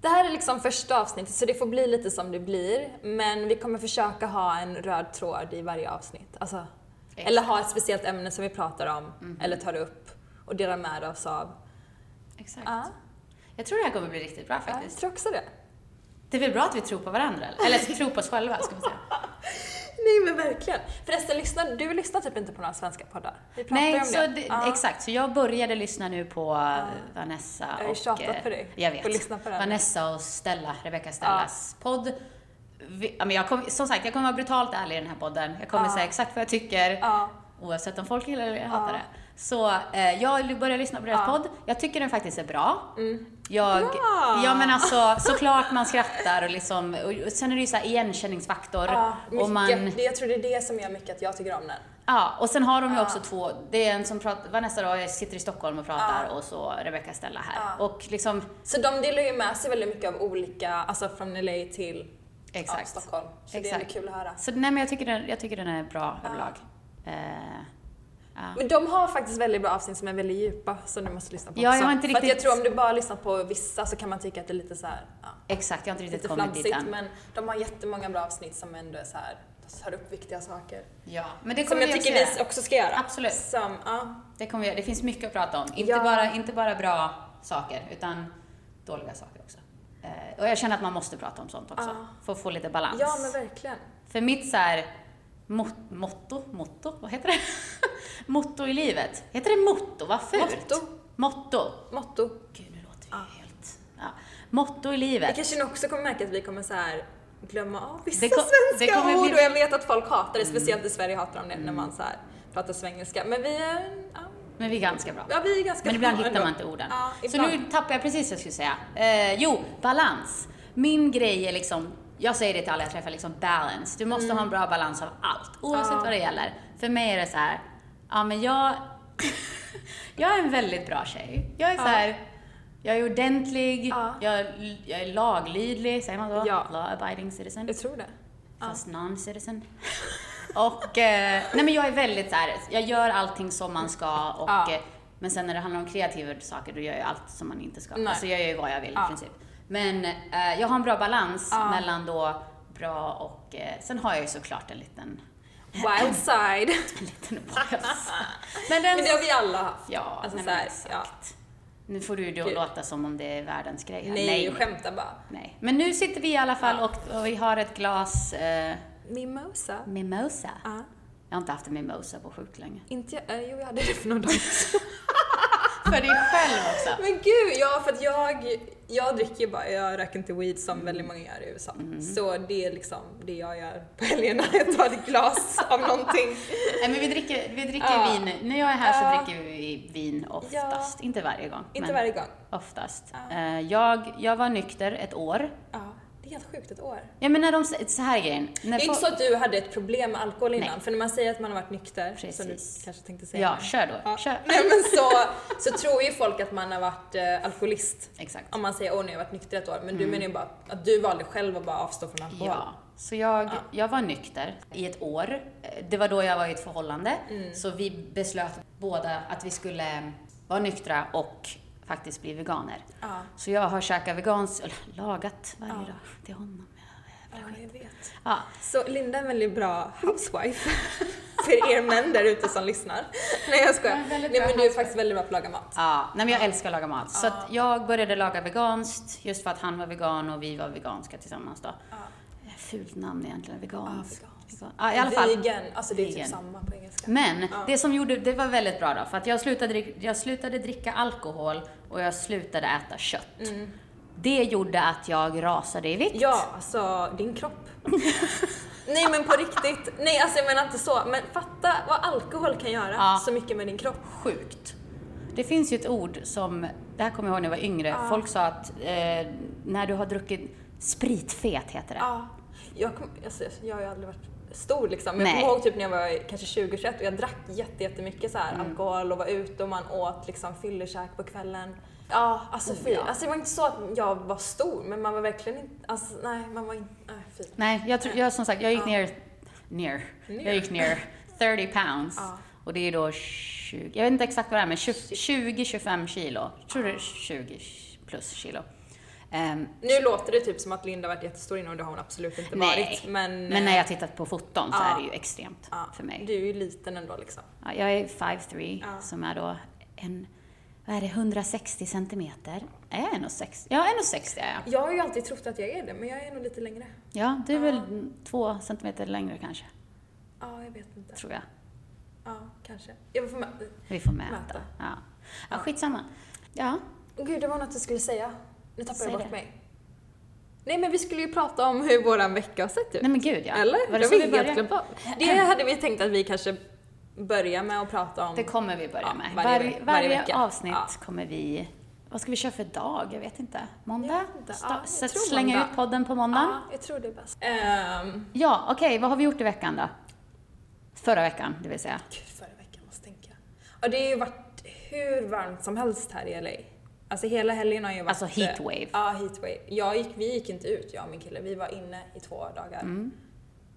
Speaker 3: Det här är liksom första avsnittet så det får bli lite som det blir. Men vi kommer försöka ha en röd tråd i varje avsnitt. Alltså,
Speaker 1: Exakt. Mhm.
Speaker 3: eller ha ett speciellt ämne som vi pratar om eller tar upp och delar med oss av.
Speaker 1: Exakt.
Speaker 3: Ja,
Speaker 1: Jag tror det här kommer bli riktigt bra
Speaker 3: ja, jag
Speaker 1: faktiskt.
Speaker 3: tror också det.
Speaker 1: Det är väl bra att vi tror på varandra? Eller, eller tror på oss själva, ska man säga.
Speaker 3: Nej men verkligen. Förresten, lyssnar, du lyssnar typ inte på några svenska poddar? Vi pratar ju
Speaker 1: Nej,
Speaker 3: om
Speaker 1: så
Speaker 3: det.
Speaker 1: det,
Speaker 3: Ja.
Speaker 1: exakt. Så jag började lyssna nu på eh, Vanessa
Speaker 3: Jag har ju
Speaker 1: och...
Speaker 3: tjatat
Speaker 1: eh,
Speaker 3: på dig.
Speaker 1: Jag vet.
Speaker 3: Får lyssna på den.
Speaker 1: Vanessa och Stella, Rebecca Stellas podd. Vi, ja, men jag kommer- som sagt, jag kommer vara brutalt ärlig i den här podden. Jag kommer säga exakt vad jag tycker.
Speaker 3: Ja.
Speaker 1: Oavsett om folk gillar det eller hatar det. Så eh, jag började lyssna på deras podd. Jag tycker den faktiskt är bra. Jag,
Speaker 3: Mm. Bra!
Speaker 1: Ja men alltså såklart man skrattar och liksom, och sen är det ju så här igenkänningsfaktor.
Speaker 3: Ja,
Speaker 1: och
Speaker 3: mycket.
Speaker 1: man,
Speaker 3: Det, jag tror det är det som gör mycket att jag tycker om den.
Speaker 1: Ja, och sen har de ju också två, det är en som pratar, Vanessa då jag sitter i Stockholm och pratar och så Rebecca Stella här. Och liksom,
Speaker 3: Så de delar ju med sig väldigt mycket av olika, alltså från LA till ja,
Speaker 1: exakt.
Speaker 3: Stockholm. Så det är
Speaker 1: Exakt.
Speaker 3: ändå kul att höra.
Speaker 1: Så nej men jag tycker den, jag tycker den är bra överlag. Eh,
Speaker 3: Men de har faktiskt väldigt bra avsnitt som är väldigt djupa som du måste lyssna på
Speaker 1: Ja, jag
Speaker 3: också.
Speaker 1: har inte
Speaker 3: För att jag
Speaker 1: riktigt-
Speaker 3: tror om du bara lyssnar på vissa så kan man tycka att det är lite så här, ja,
Speaker 1: exakt, jag har inte
Speaker 3: lite
Speaker 1: riktigt kommit dit
Speaker 3: flamsigt
Speaker 1: än. Men,
Speaker 3: men de har jättemånga bra avsnitt som ändå är så här, tar upp viktiga saker.
Speaker 1: ja, men det
Speaker 3: Som
Speaker 1: kommer
Speaker 3: jag
Speaker 1: vi också
Speaker 3: tycker
Speaker 1: göra.
Speaker 3: vi också ska göra.
Speaker 1: Absolut.
Speaker 3: Som, ja.
Speaker 1: Det, kommer vi, göra. det finns mycket att prata om. Inte,
Speaker 3: Ja.
Speaker 1: bara, inte bara bra saker, utan dåliga saker också. Eh, och jag känner att man måste prata om sånt också, för att få lite balans.
Speaker 3: ja, men verkligen.
Speaker 1: För mitt så här mot, motto, motto, vad heter det? motto i livet. Heter det motto? Vad fult!
Speaker 3: Motto.
Speaker 1: Motto.
Speaker 3: Motto.
Speaker 1: Gud, nu låter vi helt... Ja. Motto i livet.
Speaker 3: Jag kanske nu också kommer märka att vi kommer så här glömma av vissa
Speaker 1: Det kom- det
Speaker 3: svenska
Speaker 1: kommer
Speaker 3: ord
Speaker 1: bli- Mm.
Speaker 3: och jag vet att folk hatar det, speciellt i Sverige hatar de det när man så här pratar svengelska. Men vi är, ja,
Speaker 1: Men vi är ganska bra.
Speaker 3: ja, vi är ganska
Speaker 1: Men ibland
Speaker 3: bra
Speaker 1: hittar man
Speaker 3: ändå.
Speaker 1: inte orden.
Speaker 3: Ja,
Speaker 1: så
Speaker 3: ibland.
Speaker 1: nu tappar jag precis vad jag skulle säga. Eh, jo, balans. Min grej är liksom, jag säger det till alla jag träffar, liksom balance. Du måste ha
Speaker 3: Mm.
Speaker 1: en bra balans av allt, oavsett vad det gäller. För mig är det så här, ja men jag, jag är en väldigt bra tjej. Jag är så här, jag är ordentlig,
Speaker 3: Ja.
Speaker 1: jag, jag är laglydlig, säger man då?
Speaker 3: Ja.
Speaker 1: Law abiding citizen.
Speaker 3: Jag tror det.
Speaker 1: Fast non-citizen. och, eh, nej men jag är väldigt såhär, jag gör allting som man ska och,
Speaker 3: Ja.
Speaker 1: eh, men sen när det handlar om kreativa saker då gör jag allt som man inte ska.
Speaker 3: Nej.
Speaker 1: Alltså jag gör ju vad jag vill
Speaker 3: Ja.
Speaker 1: i princip. Men eh, jag har en bra balans mellan då bra och, eh, sen har jag ju såklart en liten,
Speaker 3: Wild side.
Speaker 1: en liten bias. men den,
Speaker 3: Men det har vi alla haft.
Speaker 1: ja,
Speaker 3: Alltså
Speaker 1: nej,
Speaker 3: så
Speaker 1: men
Speaker 3: här,
Speaker 1: exakt. Nu får du ju då
Speaker 3: Gud.
Speaker 1: låta som om det är världens grej här.
Speaker 3: Nej, jag skämtar bara.
Speaker 1: nej. Men nu sitter vi i alla fall och, och vi har ett glas eh,
Speaker 3: Mimosa.
Speaker 1: mimosa.
Speaker 3: Ja.
Speaker 1: Jag har inte haft en mimosa på sjukt länge.
Speaker 3: Inte jag, eh, jo jag hade det för några dagar sedan.
Speaker 1: För dig själv också.
Speaker 3: Men gud, ja för att jag, jag dricker ju bara, jag röker inte weed som väldigt många gör i USA. Så det är liksom det jag gör på helgerna, jag tar ett glas av någonting.
Speaker 1: Nej, men vi dricker, vi dricker
Speaker 3: Ja.
Speaker 1: vin. När jag är här
Speaker 3: Ja.
Speaker 1: så dricker vi vin oftast. Inte varje gång.
Speaker 3: Inte
Speaker 1: men
Speaker 3: varje gång.
Speaker 1: Oftast. Eh, Jag, jag var nykter ett år.
Speaker 3: Ja, det är helt sjukt, ett år.
Speaker 1: Ja men när de, sä- så här är grejen. När
Speaker 3: Det är
Speaker 1: folk-
Speaker 3: inte så att du hade ett problem med alkohol innan,
Speaker 1: Nej.
Speaker 3: för när man säger att man har varit nykter, som du
Speaker 1: Precis.
Speaker 3: kanske tänkte säga.
Speaker 1: Ja,
Speaker 3: nu.
Speaker 1: kör då.
Speaker 3: Ja.
Speaker 1: Kör.
Speaker 3: Nej men så, så tror ju folk att man har varit eh, alkoholist.
Speaker 1: Exakt.
Speaker 3: Om man säger åh nu har jag varit nykter ett år, men du menar ju bara att du valde själv att bara avstå från alkohol.
Speaker 1: Mm. Ja, så jag, jag var nykter i ett år. Eh, Det var då jag var i ett förhållande.
Speaker 3: Mm.
Speaker 1: Så vi beslöt båda att vi skulle eh, vara nyktra och faktiskt bli veganer.
Speaker 3: Ja.
Speaker 1: Så jag har käkat veganskt, eller lagat varje dag till honom.
Speaker 3: Ja, jag vet.
Speaker 1: Ja,
Speaker 3: Så Linda är en väldigt bra housewife. för er män där ute som lyssnar. Nej jag skojar.
Speaker 1: Ja, väldigt
Speaker 3: Nej
Speaker 1: bra
Speaker 3: men du är faktiskt väldigt bra på att laga mat.
Speaker 1: Ja, nej men jag älskar att laga mat. Så att jag började laga veganskt, just för att han var vegan och vi var veganska tillsammans då. Fult namn egentligen, vegansk.
Speaker 3: Ja, vegansk.
Speaker 1: Vegan. Ja, i alla fall.
Speaker 3: Vegan, alltså det är typ
Speaker 1: Vegan.
Speaker 3: samma på engelska.
Speaker 1: Men det som gjorde, det var väldigt bra då, för att jag slutade, drick- jag slutade dricka alkohol och jag slutade äta kött. Det gjorde att jag rasade i vikt.
Speaker 3: Mm. Ja, alltså din kropp. Nej men på riktigt. Nej alltså jag menar inte så. Men fatta vad alkohol kan göra
Speaker 1: Ja.
Speaker 3: så mycket med din kropp.
Speaker 1: Sjukt. Det finns ju ett ord som, det här kommer jag ihåg när jag var yngre, folk sa att eh, när du har druckit spritfet heter det.
Speaker 3: Ja. Jag, kom, alltså, jag har ju aldrig varit stor liksom. Men jag
Speaker 1: Nej.
Speaker 3: kommer ihåg typ när jag var i- kanske 20-21 och jag drack jätte, jättemycket så här,
Speaker 1: Mm.
Speaker 3: alkohol och var ute och man åt liksom fyllekäk på kvällen. Ja, alltså fy.
Speaker 1: ja.
Speaker 3: Alltså det var inte så att jag var stor men man var verkligen inte, alltså nej man var inte, nej fy.
Speaker 1: Nej, jag, tror, jag som sagt, jag gick ner ner.
Speaker 3: Ner?
Speaker 1: Jag gick ner 30 pounds.
Speaker 3: Ja.
Speaker 1: Och det är då 20, jag vet inte exakt vad det är, men 20-25 kilo. Jag tror det är 20 plus kilo. Ehm,
Speaker 3: Nu låter det typ som att Linda varit jättestor innan och det har hon absolut inte
Speaker 1: Nej.
Speaker 3: varit. Men, eh,
Speaker 1: men när jag tittat på foton så
Speaker 3: Ja.
Speaker 1: är det ju extremt
Speaker 3: Ja,
Speaker 1: för mig.
Speaker 3: Du är ju liten ändå liksom.
Speaker 1: Ja, jag är 5'3
Speaker 3: Ja.
Speaker 1: som är då en, vad är det, 160 centimeter? Är jag 1,60? Ja, 1,60 är jag.
Speaker 3: Jag har ju alltid trott att jag är det, men jag är nog lite längre.
Speaker 1: Ja, du är väl två centimeter längre kanske,
Speaker 3: Ja, jag vet inte.
Speaker 1: tror jag.
Speaker 3: Ja, kanske. Jag får med.
Speaker 1: Vi får mäta.
Speaker 3: Mäta.
Speaker 1: Ja. ja, skitsamma. Ja,
Speaker 3: Gud, det var något du skulle säga. Nu tappade
Speaker 1: Säg
Speaker 3: jag
Speaker 1: det.
Speaker 3: bort mig. Nej, men vi skulle ju prata om hur våran vecka har sett ut.
Speaker 1: nej men gud ja.
Speaker 3: typ. Eller?
Speaker 1: Var det
Speaker 3: Var det
Speaker 1: så
Speaker 3: har
Speaker 1: vi
Speaker 3: vi helt
Speaker 1: började?
Speaker 3: glömt av. Det hade vi tänkt att vi kanske börjar med att prata om.
Speaker 1: Det kommer vi börja
Speaker 3: Ja,
Speaker 1: med.
Speaker 3: varje-
Speaker 1: varje,
Speaker 3: varje
Speaker 1: varje
Speaker 3: vecka.
Speaker 1: avsnitt
Speaker 3: Ja.
Speaker 1: kommer vi... Vad ska vi köra för dag? Jag vet inte. Måndag?
Speaker 3: Jag vet inte.
Speaker 1: Sta-
Speaker 3: Ja, jag
Speaker 1: så
Speaker 3: tror
Speaker 1: slänga
Speaker 3: måndag.
Speaker 1: ut podden på
Speaker 3: Ja,
Speaker 1: måndag?
Speaker 3: jag tror det är bäst. Ehm,
Speaker 1: Ja, okej. vad har vi gjort i veckan då? Förra veckan, det vill säga.
Speaker 3: Gud, förra veckan måste tänka. Ja, det har ju varit hur varmt som helst här i LA. Alltså hela helgen har ju varit... eh,
Speaker 1: Alltså heatwave.
Speaker 3: Ja, heatwave. Jag gick, vi gick inte ut, jag och min kille. Vi var inne i två dagar.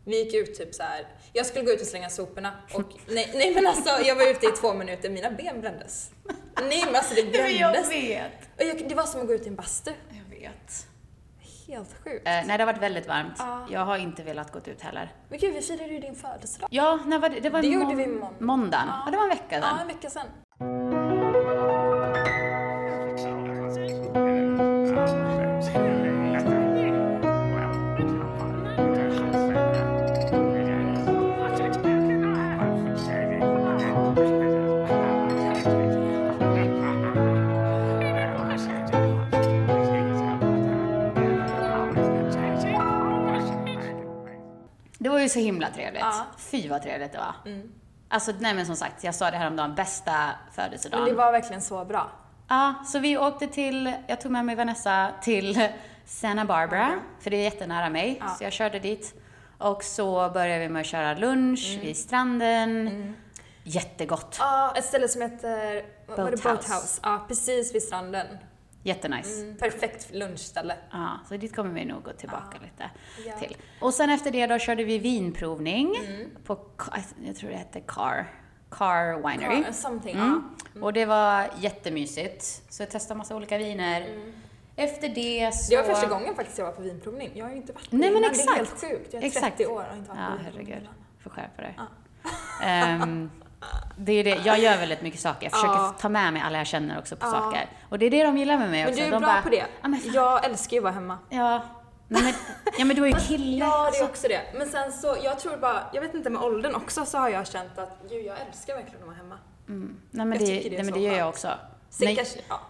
Speaker 3: Vi gick ut typ så här. jag skulle gå ut och slänga soporna och nej, nej men alltså jag var ute i två minuter, mina ben brändes. Nej men alltså det brändes.
Speaker 1: vet.
Speaker 3: Och jag, det var som att gå ut i en bastu.
Speaker 1: Jag vet.
Speaker 3: Helt sjukt.
Speaker 1: Eh, nej, det har varit väldigt varmt.
Speaker 3: Ja.
Speaker 1: Jag har inte velat gått ut heller.
Speaker 3: Men gud, vi firade ju din födelsedag.
Speaker 1: Ja, när var det? Det, var
Speaker 3: Det gjorde
Speaker 1: mån-
Speaker 3: vi måndag.
Speaker 1: måndagen. Ja.
Speaker 3: Ja.
Speaker 1: det var en vecka sedan.
Speaker 3: Ja, en vecka sedan.
Speaker 4: Thank you.
Speaker 1: Det var ju så himla trevligt.
Speaker 3: Ja. Mm.
Speaker 1: Fy vad trevligt det var. Alltså, nej men som sagt, jag sa det häromdagen, bästa födelsedagen.
Speaker 3: Men det var verkligen så bra.
Speaker 1: Ja, så vi åkte till, jag tog med mig Vanessa till Santa Barbara, för det är jättenära mig, så jag körde dit. Och så började vi med att köra lunch
Speaker 3: Mm.
Speaker 1: vid stranden. Jättegott.
Speaker 3: Ja, ett ställe som heter vad var det?
Speaker 1: Boathouse.
Speaker 3: Boathouse. Ja, precis vid stranden.
Speaker 1: Jättenice.
Speaker 3: Mm. Perfekt lunchställe.
Speaker 1: Ja, så dit kommer vi nog gå tillbaka lite
Speaker 3: Ja. Mm.
Speaker 1: till. Och sen efter det då körde vi vinprovning på, Ca- jag tror det hette Car, Car Winery.
Speaker 3: Ja, something.
Speaker 1: Mm. Och det var jättemysigt. Så jag testade massa olika viner. Efter det så...
Speaker 3: Ja. Mm. Det var första gången faktiskt jag var på vinprovning. Jag har ju inte varit på
Speaker 1: Nej, men
Speaker 3: innan. Det
Speaker 1: exakt.
Speaker 3: är helt sjukt. Jag är
Speaker 1: Exakt.
Speaker 3: 30 år och har inte varit
Speaker 1: Ja,
Speaker 3: på vinprovning
Speaker 1: herregud.
Speaker 3: innan.
Speaker 1: Får skärpa dig. Ehm, det är det. Jag gör väldigt mycket saker. Jag försöker
Speaker 3: Ja.
Speaker 1: ta med mig alla jag känner också på
Speaker 3: Ja.
Speaker 1: saker. Och det är det de gillar med mig
Speaker 3: Men
Speaker 1: också.
Speaker 3: du är
Speaker 1: de
Speaker 3: bra
Speaker 1: bara,
Speaker 3: på det.
Speaker 1: Ja, men, fan,
Speaker 3: Jag älskar ju att vara hemma.
Speaker 1: ja. Nej, men, ja, men du är ju kille.
Speaker 3: Ja, det
Speaker 1: alltså.
Speaker 3: är också det. Men sen så, jag tror bara, jag vet inte med åldern också så har jag känt att gud, jag älskar verkligen att vara hemma.
Speaker 1: Nej, men
Speaker 3: jag
Speaker 1: det,
Speaker 3: tycker det är
Speaker 1: nej, men det
Speaker 3: så
Speaker 1: gör jag
Speaker 3: skönt.
Speaker 1: också.
Speaker 3: Sen
Speaker 1: När,
Speaker 3: kanske, ja.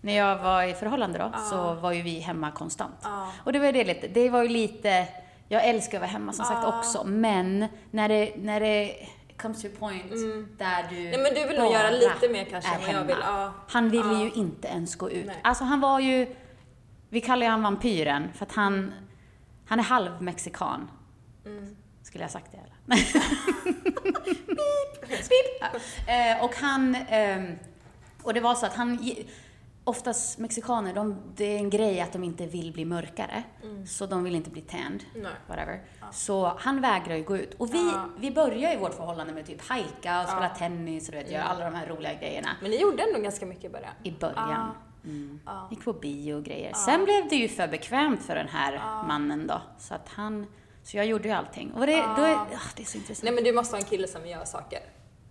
Speaker 1: när jag var i förhållande då, så var ju vi hemma konstant.
Speaker 3: Ja.
Speaker 1: Och det var ju det lite, det var ju lite, jag älskar att vara hemma som sagt också, men när det, när det comes to a point där du
Speaker 3: Mm. Nej, men du vill nog
Speaker 1: bara
Speaker 3: göra lite mer kanske
Speaker 1: är
Speaker 3: än vad jag
Speaker 1: hemma.
Speaker 3: vill. Ja.
Speaker 1: Han ville ju inte ens gå ut.
Speaker 3: Nej.
Speaker 1: Alltså han var ju, vi kallar ju han vampyren för att han, han är halv mexikan. Skulle jag ha sagt det eller? Nej. Pip. Eh, och han, ehm, och det var så att han, ge- oftast mexikaner, de, det är en grej att de inte vill bli mörkare. Så de vill inte bli tanned.
Speaker 3: Nej.
Speaker 1: Whatever. Så han vägrar ju gå ut. Och vi,
Speaker 3: Mm. Ja.
Speaker 1: vi börjar ju vårt förhållande med typ hajka och spela tennis och du vet, göra alla de här roliga grejerna.
Speaker 3: Men ni gjorde ändå ganska mycket i början.
Speaker 1: I början. Mm.
Speaker 3: Ja.
Speaker 1: Gick på bio och grejer. Sen blev det ju för bekvämt för den här mannen då. Så att han, så jag gjorde ju allting. Och det, då är, ah, det är så intressant.
Speaker 3: Nej men du måste ha en kille som gör saker.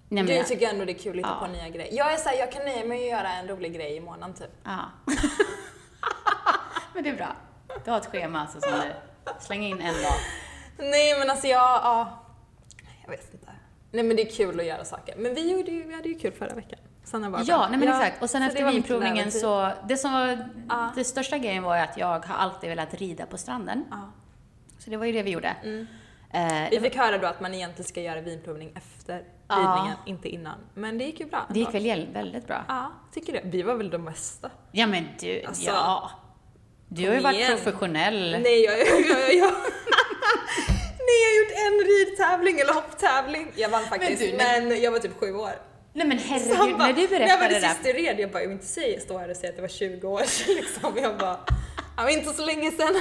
Speaker 1: Nej, men
Speaker 3: du
Speaker 1: jag-
Speaker 3: tycker ändå det är kul att hitta
Speaker 1: Ja.
Speaker 3: på nya grejer. Jag är såhär, jag kan nöja mig med att göra en rolig grej i månaden typ.
Speaker 1: Ja. men det är bra. Du har ett schema alltså som du slänger in en dag.
Speaker 3: Nej men alltså jag, ja. Jag vet inte. Nej men det är kul att göra saker. Men vi, gjorde ju, vi hade ju kul förra veckan. Sanna Barbara.
Speaker 1: Ja, nej men exakt. Och sen
Speaker 3: så det
Speaker 1: efter
Speaker 3: var mitt
Speaker 1: vinprovningen
Speaker 3: äventyr.
Speaker 1: så, det som var,
Speaker 3: Ja.
Speaker 1: det största grejen var ju att jag har alltid velat rida på stranden.
Speaker 3: Ja.
Speaker 1: Så det var ju det vi gjorde.
Speaker 3: Mm.
Speaker 1: Eh,
Speaker 3: Vi fick höra då att man egentligen ska göra vinprovning efter
Speaker 1: Ja.
Speaker 3: ridningen, inte innan. Men det gick ju bra.
Speaker 1: det gick
Speaker 3: ändå.
Speaker 1: väl jäl- väldigt bra.
Speaker 3: Ja, tycker du? Vi var väl de bästa?
Speaker 1: Ja men du,
Speaker 3: Alltså,
Speaker 1: ja. Du har ju
Speaker 3: kom
Speaker 1: varit
Speaker 3: igen.
Speaker 1: professionell.
Speaker 3: Nej, jag, jag, jag, jag. Nej, jag har gjort en ridtävling eller hopptävling. Jag vann faktiskt,
Speaker 1: du,
Speaker 3: men, jag var typ sju år.
Speaker 1: Nej men
Speaker 3: Så
Speaker 1: herregud,
Speaker 3: han bara,
Speaker 1: när du
Speaker 3: när jag var
Speaker 1: berättade det där.
Speaker 3: sist i red, jag bara, jag vill inte säga, stå här och säga att det var 20 år sedan liksom. Jag bara, ja men inte så länge sedan.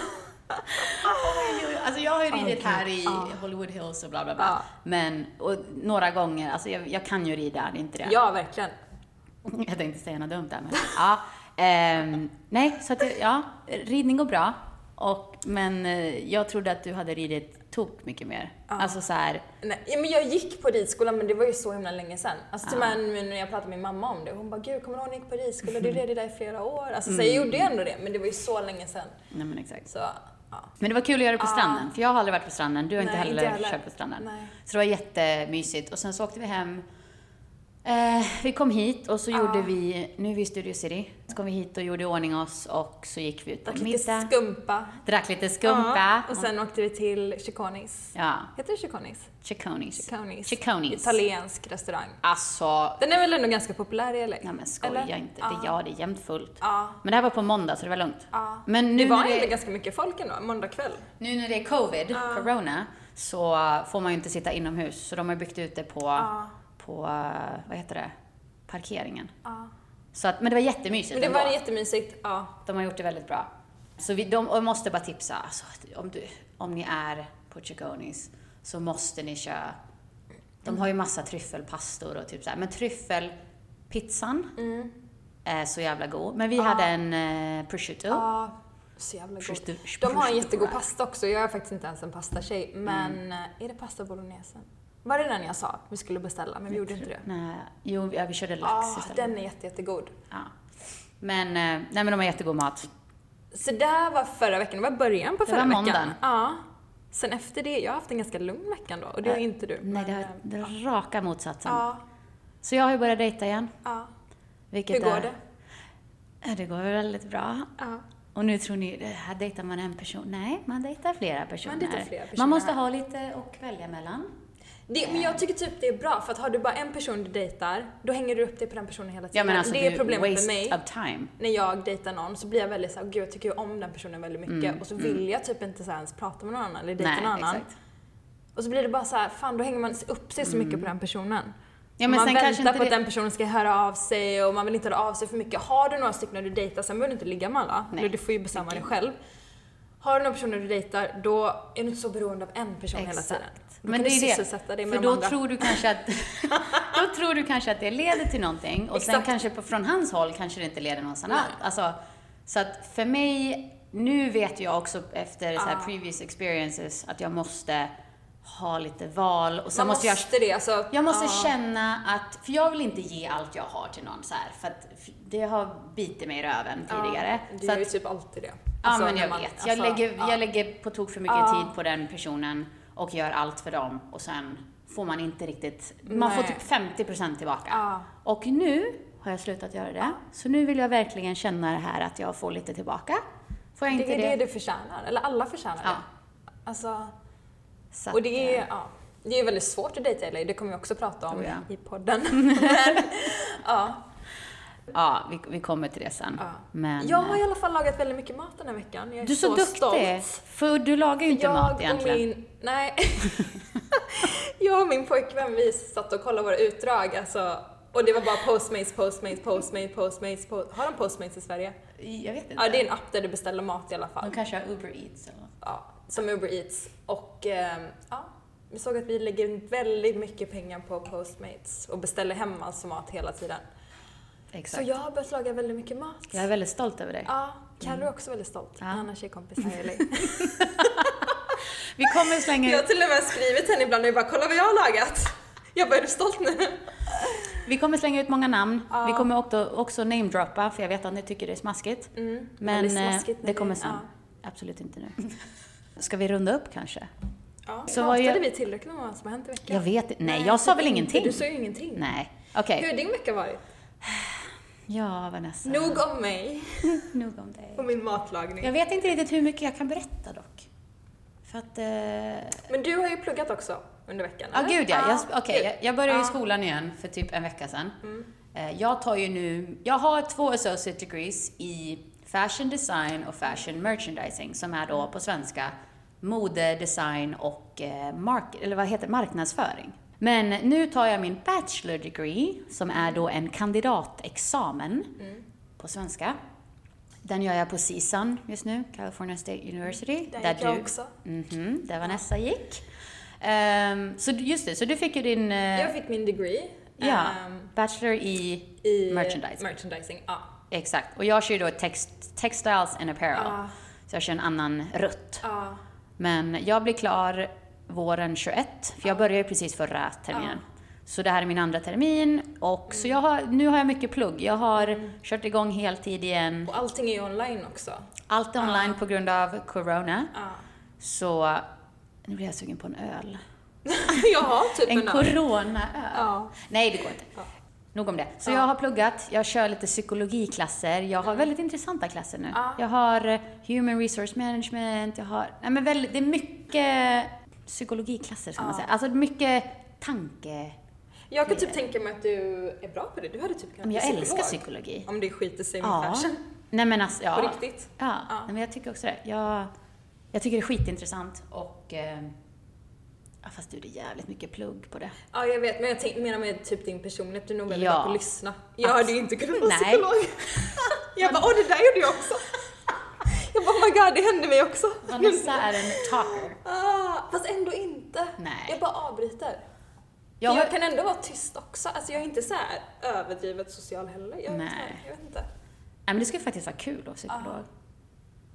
Speaker 1: Oj, oj, oj. Alltså jag har ju ridit
Speaker 3: Okej,
Speaker 1: här i
Speaker 3: ja.
Speaker 1: Hollywood Hills och bla bla bla.
Speaker 3: Ja.
Speaker 1: Men, och några gånger, alltså jag, jag kan ju rida, det är inte det.
Speaker 3: Ja, verkligen.
Speaker 1: Jag tänkte säga något dumt där men, ja. Ehm, nej, så att jag- ja, ridning går bra. Och, men eh, jag trodde att du hade ridit tok mycket mer. Alltså så här,
Speaker 3: Nej, ja, men jag gick på ridskolan men det var ju så himla länge sedan. Alltså till och med nu när jag pratade med min mamma om det, hon bara “Gud, kommer du ihåg när jag gick på ridskola?
Speaker 1: Mm.
Speaker 3: Du red ju där i flera år”. Alltså så jag gjorde ju ändå det, men det var ju så länge sedan.
Speaker 1: nej men exakt.
Speaker 3: Så, ja.
Speaker 1: Men det var kul att göra det på stranden, för jag har aldrig varit på stranden, du har inte
Speaker 3: Nej,
Speaker 1: heller,
Speaker 3: inte heller.
Speaker 1: kört på stranden.
Speaker 3: Nej.
Speaker 1: Så det var jättemysigt. Och sen så åkte vi hem, eh, vi kom hit och så gjorde vi, nu är vi i Studio City, så kom vi hit och gjorde i ordning oss och så gick vi ut på
Speaker 3: Drack
Speaker 1: middag,
Speaker 3: lite skumpa.
Speaker 1: drack lite skumpa.
Speaker 3: Ja, och sen åkte vi till Chiconis.
Speaker 1: Ja,
Speaker 3: Heter det Chiconis?
Speaker 1: chiconis.
Speaker 3: Chiconis.
Speaker 1: Chiconis.
Speaker 3: Italiensk restaurang.
Speaker 1: Alltså,
Speaker 3: Den är väl ändå ganska populär i LA?
Speaker 1: nej men skoja
Speaker 3: Eller?
Speaker 1: inte.
Speaker 3: Ja.
Speaker 1: Det, ja, det är jämnt fullt.
Speaker 3: Ja.
Speaker 1: Men det här var på måndag så det var lugnt.
Speaker 3: Ja.
Speaker 1: Men
Speaker 3: Det
Speaker 1: nu
Speaker 3: var
Speaker 1: när
Speaker 3: ändå
Speaker 1: det,
Speaker 3: ganska mycket folk ändå, måndag kväll.
Speaker 1: nu när det är covid, corona, så får man ju inte sitta inomhus. Så de har byggt ut det på, på eh, vad heter det, parkeringen.
Speaker 3: Ja.
Speaker 1: Så att, men det var jättemysigt
Speaker 3: Men det var
Speaker 1: ändå.
Speaker 3: jättemysigt. Ja.
Speaker 1: De har gjort det väldigt bra. Så vi, de, och jag måste bara tipsa, alltså, att om, du, om ni är på Chiconis så måste ni köra. De har ju massa tryffelpastor och typ så här. men tryffelpizzan
Speaker 3: Mm.
Speaker 1: är så jävla god. Men vi hade en eh, prosciutto.
Speaker 3: Ja, så jävla
Speaker 1: Prosciutto-
Speaker 3: god. De har en
Speaker 1: prosciutto.
Speaker 3: jättegod pasta också. Jag är faktiskt inte ens en pastatjej, men
Speaker 1: Mm.
Speaker 3: eh, är det pasta bolognese? Var det den jag sa vi skulle beställa, men vi gjorde inte det?
Speaker 1: Nej, jo, ja, vi körde Mm. lax
Speaker 3: Ah,
Speaker 1: istället.
Speaker 3: den är jätte, jättegod.
Speaker 1: Ja. Men, eh, nej men de har jättegod mat.
Speaker 3: Så där var förra veckan, det var början på
Speaker 1: Det
Speaker 3: förra
Speaker 1: var
Speaker 3: veckan.
Speaker 1: måndagen.
Speaker 3: Ja. Sen efter det, jag har haft en ganska lugn vecka då och det har
Speaker 1: Äh,
Speaker 3: inte du.
Speaker 1: Nej, det
Speaker 3: men,
Speaker 1: har
Speaker 3: eh,
Speaker 1: det är raka motsatsen.
Speaker 3: Ja,
Speaker 1: Så jag har ju börjat dejta igen.
Speaker 3: ja.
Speaker 1: Vilket
Speaker 3: Hur går
Speaker 1: är,
Speaker 3: det?
Speaker 1: Ja, Det går väldigt bra.
Speaker 3: Ja.
Speaker 1: Och nu tror ni, det här dejtar man en person. Nej, man dejtar flera personer.
Speaker 3: Man dejtar flera personer.
Speaker 1: Man måste ha lite att välja mellan.
Speaker 3: Det, men jag tycker typ det är bra, för att har du bara en person du dejtar, då hänger du upp dig på den personen hela tiden.
Speaker 1: Ja, men alltså,
Speaker 3: det är
Speaker 1: du-
Speaker 3: problemet
Speaker 1: waste
Speaker 3: med mig.
Speaker 1: of time.
Speaker 3: när jag dejtar någon så blir jag väldigt såhär, gud jag tycker ju om den personen väldigt mycket och så vill jag typ inte så här ens prata med någon annan eller dejta
Speaker 1: Mm, Nej,
Speaker 3: någon annan.
Speaker 1: exakt.
Speaker 3: Och så blir det bara så här, fan då hänger man upp sig så mycket på den personen.
Speaker 1: Mm. Ja, men
Speaker 3: man
Speaker 1: sen
Speaker 3: väntar
Speaker 1: kanske inte
Speaker 3: på att
Speaker 1: det-
Speaker 3: den personen ska höra av sig och man vill inte höra av sig för mycket. Har du några stycken du dejtar, sen behöver du inte ligga med alla,
Speaker 1: Nej.
Speaker 3: eller du får ju bestämma dig själv. Har du några personer du dejtar, då är du inte så beroende av en person hela tiden. Då
Speaker 1: Men
Speaker 3: kan
Speaker 1: det
Speaker 3: du
Speaker 1: är
Speaker 3: sysselsätta
Speaker 1: det.
Speaker 3: dig med
Speaker 1: För
Speaker 3: de
Speaker 1: då
Speaker 3: andra.
Speaker 1: tror, du kanske att, då tror du kanske att det leder till någonting och sen
Speaker 3: Exakt.
Speaker 1: kanske på, från hans håll kanske det inte leder någonstans
Speaker 3: Nej.
Speaker 1: annat. Alltså, så att för mig, nu vet jag också efter så här
Speaker 3: Ah.
Speaker 1: previous experiences att jag måste ha lite val och sen
Speaker 3: Man
Speaker 1: måste jag
Speaker 3: måste det, alltså.
Speaker 1: jag måste
Speaker 3: ja.
Speaker 1: känna att, för jag vill inte ge allt jag har till någon så här, för att f- det har bitit mig i röven tidigare.
Speaker 3: Du
Speaker 1: så
Speaker 3: gör
Speaker 1: att,
Speaker 3: ju typ alltid det.
Speaker 1: ja
Speaker 3: Alltså,
Speaker 1: men
Speaker 3: när
Speaker 1: jag
Speaker 3: man-
Speaker 1: vet. jag,
Speaker 3: alltså,
Speaker 1: lägger,
Speaker 3: ja.
Speaker 1: jag lägger på tok för mycket tid på den personen och gör allt för dem och sen får man inte riktigt, man får
Speaker 3: Nej.
Speaker 1: typ 50% tillbaka.
Speaker 3: Ja.
Speaker 1: Och nu har jag slutat göra det, så nu vill jag verkligen känna det här att jag får lite tillbaka. Får jag inte
Speaker 3: Det
Speaker 1: det?
Speaker 3: är det du förtjänar, eller alla förtjänar
Speaker 1: Ja.
Speaker 3: det. Alltså,
Speaker 1: Så
Speaker 3: och
Speaker 1: att,
Speaker 3: det
Speaker 1: eh,
Speaker 3: är, ja, det är väldigt svårt att dejta i LA, det kommer vi också prata om
Speaker 1: Oh ja.
Speaker 3: i podden. Men, ja,
Speaker 1: Ja, vi, vi kommer till det sen.
Speaker 3: ja.
Speaker 1: Men,
Speaker 3: jag
Speaker 1: eh,
Speaker 3: har i alla fall lagat väldigt mycket mat den här veckan. Jag är
Speaker 1: Du är så, duktig!
Speaker 3: stolt.
Speaker 1: För du lagar ju inte
Speaker 3: Jag
Speaker 1: mat
Speaker 3: och
Speaker 1: egentligen.
Speaker 3: min, nej. jag och min pojkvän vi satt och kollade våra utdrag alltså, och det var bara postmates, postmates, postmates, postmates. Po- har de postmates i Sverige?
Speaker 1: Jag vet inte.
Speaker 3: Ja, det är en app där du beställer mat i alla fall.
Speaker 1: De kanske har Uber Eats eller något.
Speaker 3: ja, som Uber Eats. Och ehm, ja, vi såg att vi lägger väldigt mycket pengar på Postmates och beställer hem alltså mat hela tiden.
Speaker 1: Exakt.
Speaker 3: Så jag har börjat laga väldigt mycket mat.
Speaker 1: Jag Mm. är väldigt stolt över dig.
Speaker 3: Ja, Carro är också väldigt stolt. En annan tjejkompis här i LA.
Speaker 1: Vi kommer slänga
Speaker 3: Jag har
Speaker 1: ut,
Speaker 3: till och med skrivit henne ibland och jag bara “kolla vad jag har lagat”. Jag bara “är du stolt nu?”
Speaker 1: vi kommer slänga ut många namn. Vi kommer också, också namedroppa, för jag vet att ni tycker det är smaskigt.
Speaker 3: Mm.
Speaker 1: Men
Speaker 3: väldigt
Speaker 1: eh,
Speaker 3: smaskigt när
Speaker 1: det
Speaker 3: vi-
Speaker 1: kommer sen.
Speaker 3: ja.
Speaker 1: Absolut inte nu. Ska vi runda upp kanske?
Speaker 3: Ja,
Speaker 1: Så
Speaker 3: så
Speaker 1: har
Speaker 3: pratade
Speaker 1: jag-
Speaker 3: vi tillräckligt om vad som har hänt i veckan?
Speaker 1: Jag vet inte. Nej, jag sa väl ingenting?
Speaker 3: Du sa ju ingenting.
Speaker 1: Nej. Okej.
Speaker 3: Hur har din vecka varit?
Speaker 1: Ja, Vanessa.
Speaker 3: Nog om mig
Speaker 1: Nog om dig.
Speaker 3: och min matlagning.
Speaker 1: Jag vet inte riktigt hur mycket jag kan berätta dock. För att... Eh...
Speaker 3: Men du har ju pluggat också under veckan,
Speaker 1: Ja,
Speaker 3: eller?
Speaker 1: gud ja. Jag,
Speaker 3: Ja,
Speaker 1: okej,
Speaker 3: kul.
Speaker 1: jag, jag började i
Speaker 3: Ja.
Speaker 1: skolan igen för typ en vecka sedan. Eh, Jag tar ju nu, jag har två associate degrees i fashion design och fashion merchandising som är då på svenska mode, design och eh, mark- eller vad heter, det? marknadsföring. Men nu tar jag min bachelor degree som är då en kandidatexamen på svenska Den gör jag på CSUN just nu, California State University.
Speaker 5: Där gick jag också.
Speaker 1: Mhm, där Vanessa gick. Ehm, så just det, så du fick ju din eh,
Speaker 3: Jag fick min degree
Speaker 1: ja,
Speaker 3: ehm,
Speaker 1: bachelor i,
Speaker 3: i
Speaker 1: merchandising.
Speaker 3: merchandising, ja.
Speaker 1: Exakt. Och jag kör ju då text, textiles and apparel.
Speaker 5: Ja.
Speaker 1: Så jag kör en annan rutt.
Speaker 5: Ja.
Speaker 1: Mm. Men jag blir klar våren 21, för jag började ju precis förra terminen. Så det här är min andra termin och så jag har, nu har jag mycket plugg. Jag har
Speaker 3: Mm.
Speaker 1: kört igång heltid igen.
Speaker 3: Och allting är ju online också.
Speaker 1: Allt är online på grund av corona.
Speaker 3: Ja.
Speaker 1: Så nu blir jag sugen på en öl.
Speaker 3: jag har typ
Speaker 1: En
Speaker 3: en,
Speaker 1: coronaöl.
Speaker 3: Ja.
Speaker 1: Nej, det går inte.
Speaker 3: Ja.
Speaker 1: Nog om det. Så jag har pluggat, jag kör lite psykologiklasser, jag har väldigt intressanta klasser nu.
Speaker 3: Mm. Ja.
Speaker 1: Jag har eh, human resource management, jag har... Nej men väldigt, det är mycket psykologiklasser ska man säga. Alltså mycket tanke...
Speaker 3: Jag kan typ tänka mig att du är bra på det. Du hade typ kunnat
Speaker 1: Men jag
Speaker 3: bli
Speaker 1: älskar psykologi.
Speaker 3: Om det skiter sig med
Speaker 1: Ja.
Speaker 3: fashion.
Speaker 1: Nej men alltså, ja.
Speaker 3: På riktigt.
Speaker 1: Ja, Nej, men jag tycker också det. Jag, jag tycker det är skitintressant och... Eh, ja, fast du, det är jävligt mycket plugg på det.
Speaker 3: Ja, jag vet. Men jag tänk, menar med typ din personlighet. Du är nog väldigt
Speaker 1: Ja.
Speaker 3: bra på att lyssna. Jag
Speaker 1: Abs-
Speaker 3: hade ju inte kunnat vara
Speaker 1: Nej.
Speaker 3: psykolog. jag bara, åh det där gjorde jag också. jag bara, oh my god, det hände mig också.
Speaker 1: Vanessa är en talker.
Speaker 3: Ah, fast ändå inte.
Speaker 1: Nej.
Speaker 3: Jag bara avbryter.
Speaker 1: Jag
Speaker 3: Jag,
Speaker 1: har-
Speaker 3: jag kan ändå vara tyst också. Alltså jag är inte så här överdrivet social heller. Jag,
Speaker 1: Nej.
Speaker 3: Nej. jag vet inte.
Speaker 1: Nej, men det skulle faktiskt vara kul att vara psykolog.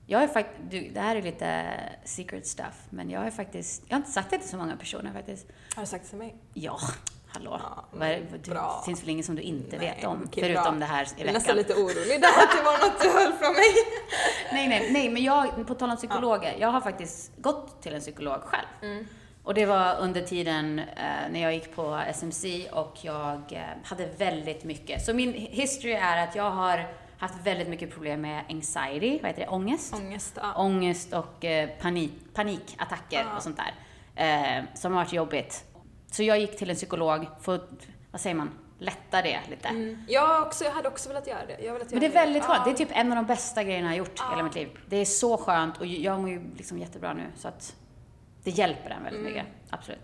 Speaker 1: Jag är fakt- du, det här är lite secret stuff, men jag är faktiskt... Jag har inte sagt det till så många personer faktiskt.
Speaker 3: Har du sagt det till mig?
Speaker 1: Ja, hallå.
Speaker 3: Ja,
Speaker 1: Vad är det- du,
Speaker 3: bra.
Speaker 1: det finns väl ingen som du inte
Speaker 3: Nej,
Speaker 1: vet om,
Speaker 3: okej,
Speaker 1: förutom
Speaker 3: bra.
Speaker 1: det här i
Speaker 3: Jag är nästan
Speaker 1: veckan.
Speaker 3: lite orolig där att det var något du höll från mig.
Speaker 1: Nej, nej, nej, men jag, på tal om psykologer, jag har faktiskt gått till en psykolog själv.
Speaker 3: Mm.
Speaker 1: Och det var under tiden eh, när jag gick på SMC och jag eh, hade väldigt mycket. Så min history är att jag har haft väldigt mycket problem med anxiety, vad heter det, ångest?
Speaker 3: Ångest, ja.
Speaker 1: ångest och eh, panik, panikattacker och sånt där. Eh, som har varit jobbigt. Så jag gick till en psykolog för att, vad säger man, lätta det lite.
Speaker 3: Mm. Jag, också, jag hade också velat göra det. Jag har velat
Speaker 1: Men det är
Speaker 3: göra
Speaker 1: väldigt skönt. Det
Speaker 3: Ja.
Speaker 1: är typ en av de bästa grejerna jag har gjort i hela mitt liv. Det är så skönt och jag mår ju liksom jättebra nu så att det hjälper en
Speaker 3: Mm.
Speaker 1: väldigt mycket. Absolut.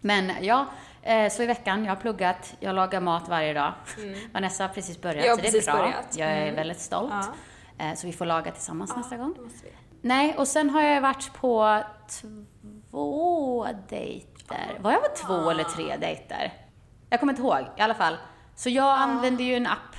Speaker 1: Men ja, eh, så i veckan, jag har pluggat, jag lagar mat varje dag. Vanessa har precis börjat,
Speaker 3: Mm. Jag har
Speaker 1: så
Speaker 3: precis
Speaker 1: det är bra.
Speaker 3: börjat. Mm.
Speaker 1: Jag är väldigt stolt.
Speaker 3: Ja.
Speaker 1: Eh, Så vi får laga tillsammans nästa gång.
Speaker 3: Det måste vi.
Speaker 1: Nej, och sen har jag varit på två dejter. Var jag på två
Speaker 3: Ah.
Speaker 1: eller tre dejter? Jag kommer inte ihåg, i alla fall. Så jag
Speaker 3: Ah.
Speaker 1: använder ju en app.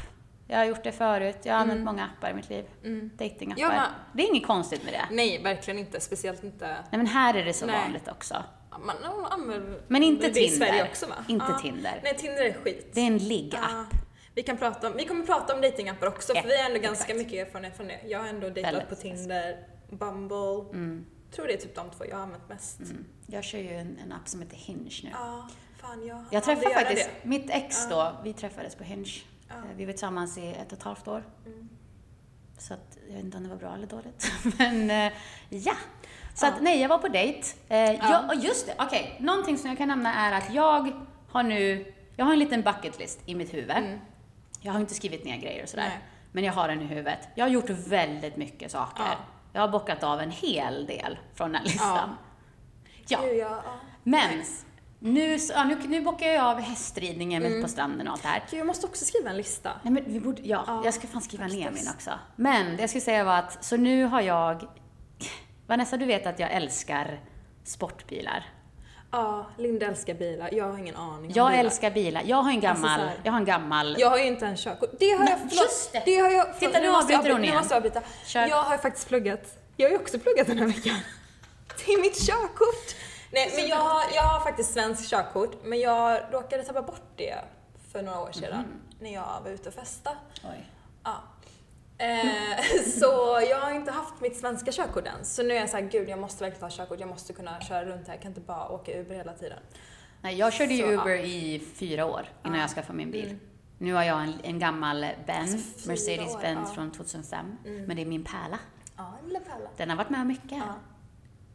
Speaker 1: Jag har gjort det förut. Jag har använt
Speaker 3: Mm.
Speaker 1: många appar i mitt liv.
Speaker 3: Jag med.
Speaker 1: Datingappar. Det är inget konstigt med det.
Speaker 3: Mm. Nej, verkligen inte. Speciellt inte...
Speaker 1: Nej, men här är det så
Speaker 3: Nej.
Speaker 1: vanligt också.
Speaker 3: Man man använder
Speaker 1: Men inte
Speaker 3: det i
Speaker 1: Tinder.
Speaker 3: Sverige också va?
Speaker 1: Inte Tinder.
Speaker 3: Ah. Nej, Ah. Tinder är skit.
Speaker 1: Det är en ligg-app.
Speaker 3: Ja. Vi, kan prata om, vi kommer prata om datingappar också
Speaker 1: Ja,
Speaker 3: för vi har ändå ganska
Speaker 1: exakt.
Speaker 3: mycket erfarenhet från det. Jag har ändå
Speaker 1: Väldigt. Mm.
Speaker 3: dejtat på Tinder, Bumble. Tror det är typ de två jag har använt mest.
Speaker 1: Jag kör ju en, en app som heter Hinge nu.
Speaker 3: Ja, fan jag hann
Speaker 1: Jag
Speaker 3: aldrig
Speaker 1: träffade
Speaker 3: göra
Speaker 1: faktiskt
Speaker 3: det.
Speaker 1: mitt ex då, vi träffades på Hinge. Eh, Vi var tillsammans i ett och ett halvt år.
Speaker 3: Mm.
Speaker 1: Så att, jag vet inte om det var bra eller dåligt. Men eh, ja. Så att nej, jag var på dejt. Eh, jag, och just det, okej. Någonting som jag kan nämna är att jag har nu, jag har en liten bucket list i mitt huvud. Jag har inte skrivit ner grejer och sådär.
Speaker 3: Mm. Nej.
Speaker 1: Men jag har den i huvudet. Jag har gjort väldigt mycket saker.
Speaker 3: Ja.
Speaker 1: Jag har bockat av en hel del från den listan. Ja.
Speaker 3: Gud, jag, ja.
Speaker 1: Men nu, så- ja, nu, nu bockar jag av hästridningen mitt
Speaker 3: Mm.
Speaker 1: på stranden och allt det här.
Speaker 3: Gud, jag måste också skriva en lista.
Speaker 1: Nej, men vi borde, ja,
Speaker 3: Ja,
Speaker 1: jag ska fan skriva ner
Speaker 3: faktiskt.
Speaker 1: min också. Men det jag skulle säga var att, så nu har jag... Vanessa, du vet att jag älskar sportbilar.
Speaker 3: Ja, Linda älskar bilar. Jag har ingen aning om
Speaker 1: Jag
Speaker 3: bilar.
Speaker 1: älskar bilar. Jag har en
Speaker 3: Alltså
Speaker 1: gammal...
Speaker 3: så här.
Speaker 1: jag har en gammal...
Speaker 3: Jag har ju inte ens körkort. Det har
Speaker 1: Nej,
Speaker 3: jag, förlåt,
Speaker 1: just det.
Speaker 3: det har jag, förlåt,
Speaker 1: Titta, nu
Speaker 3: måste jag
Speaker 1: avbryter hon
Speaker 3: avbry-
Speaker 1: igen.
Speaker 3: Nu måste jag avbryta.
Speaker 1: Kör.
Speaker 3: Jag har faktiskt pluggat. Jag har ju också pluggat den här veckan. Det är mitt körkort. Nej, men jag har, jag har faktiskt svenskt körkort, men jag råkade tappa bort det för några år sedan när jag var ute och festa.
Speaker 1: Oj.
Speaker 3: Ja. Eh, så jag har inte haft mitt svenska körkort än. Så nu är jag så här, gud jag måste verkligen ta körkort, jag måste kunna köra runt här, jag kan inte bara åka Uber hela tiden.
Speaker 1: Nej, jag körde ju
Speaker 3: Så, ja. Mm.
Speaker 1: Uber i fyra år innan jag skaffade min bil. Nu har jag en, en gammal Benz,
Speaker 3: Alltså, fyra
Speaker 1: Mercedes-Benz
Speaker 3: år, ja.
Speaker 1: från 2005. Men det är min pärla.
Speaker 3: Ja, lilla pärla.
Speaker 1: Den har varit med om mycket.
Speaker 3: Ja.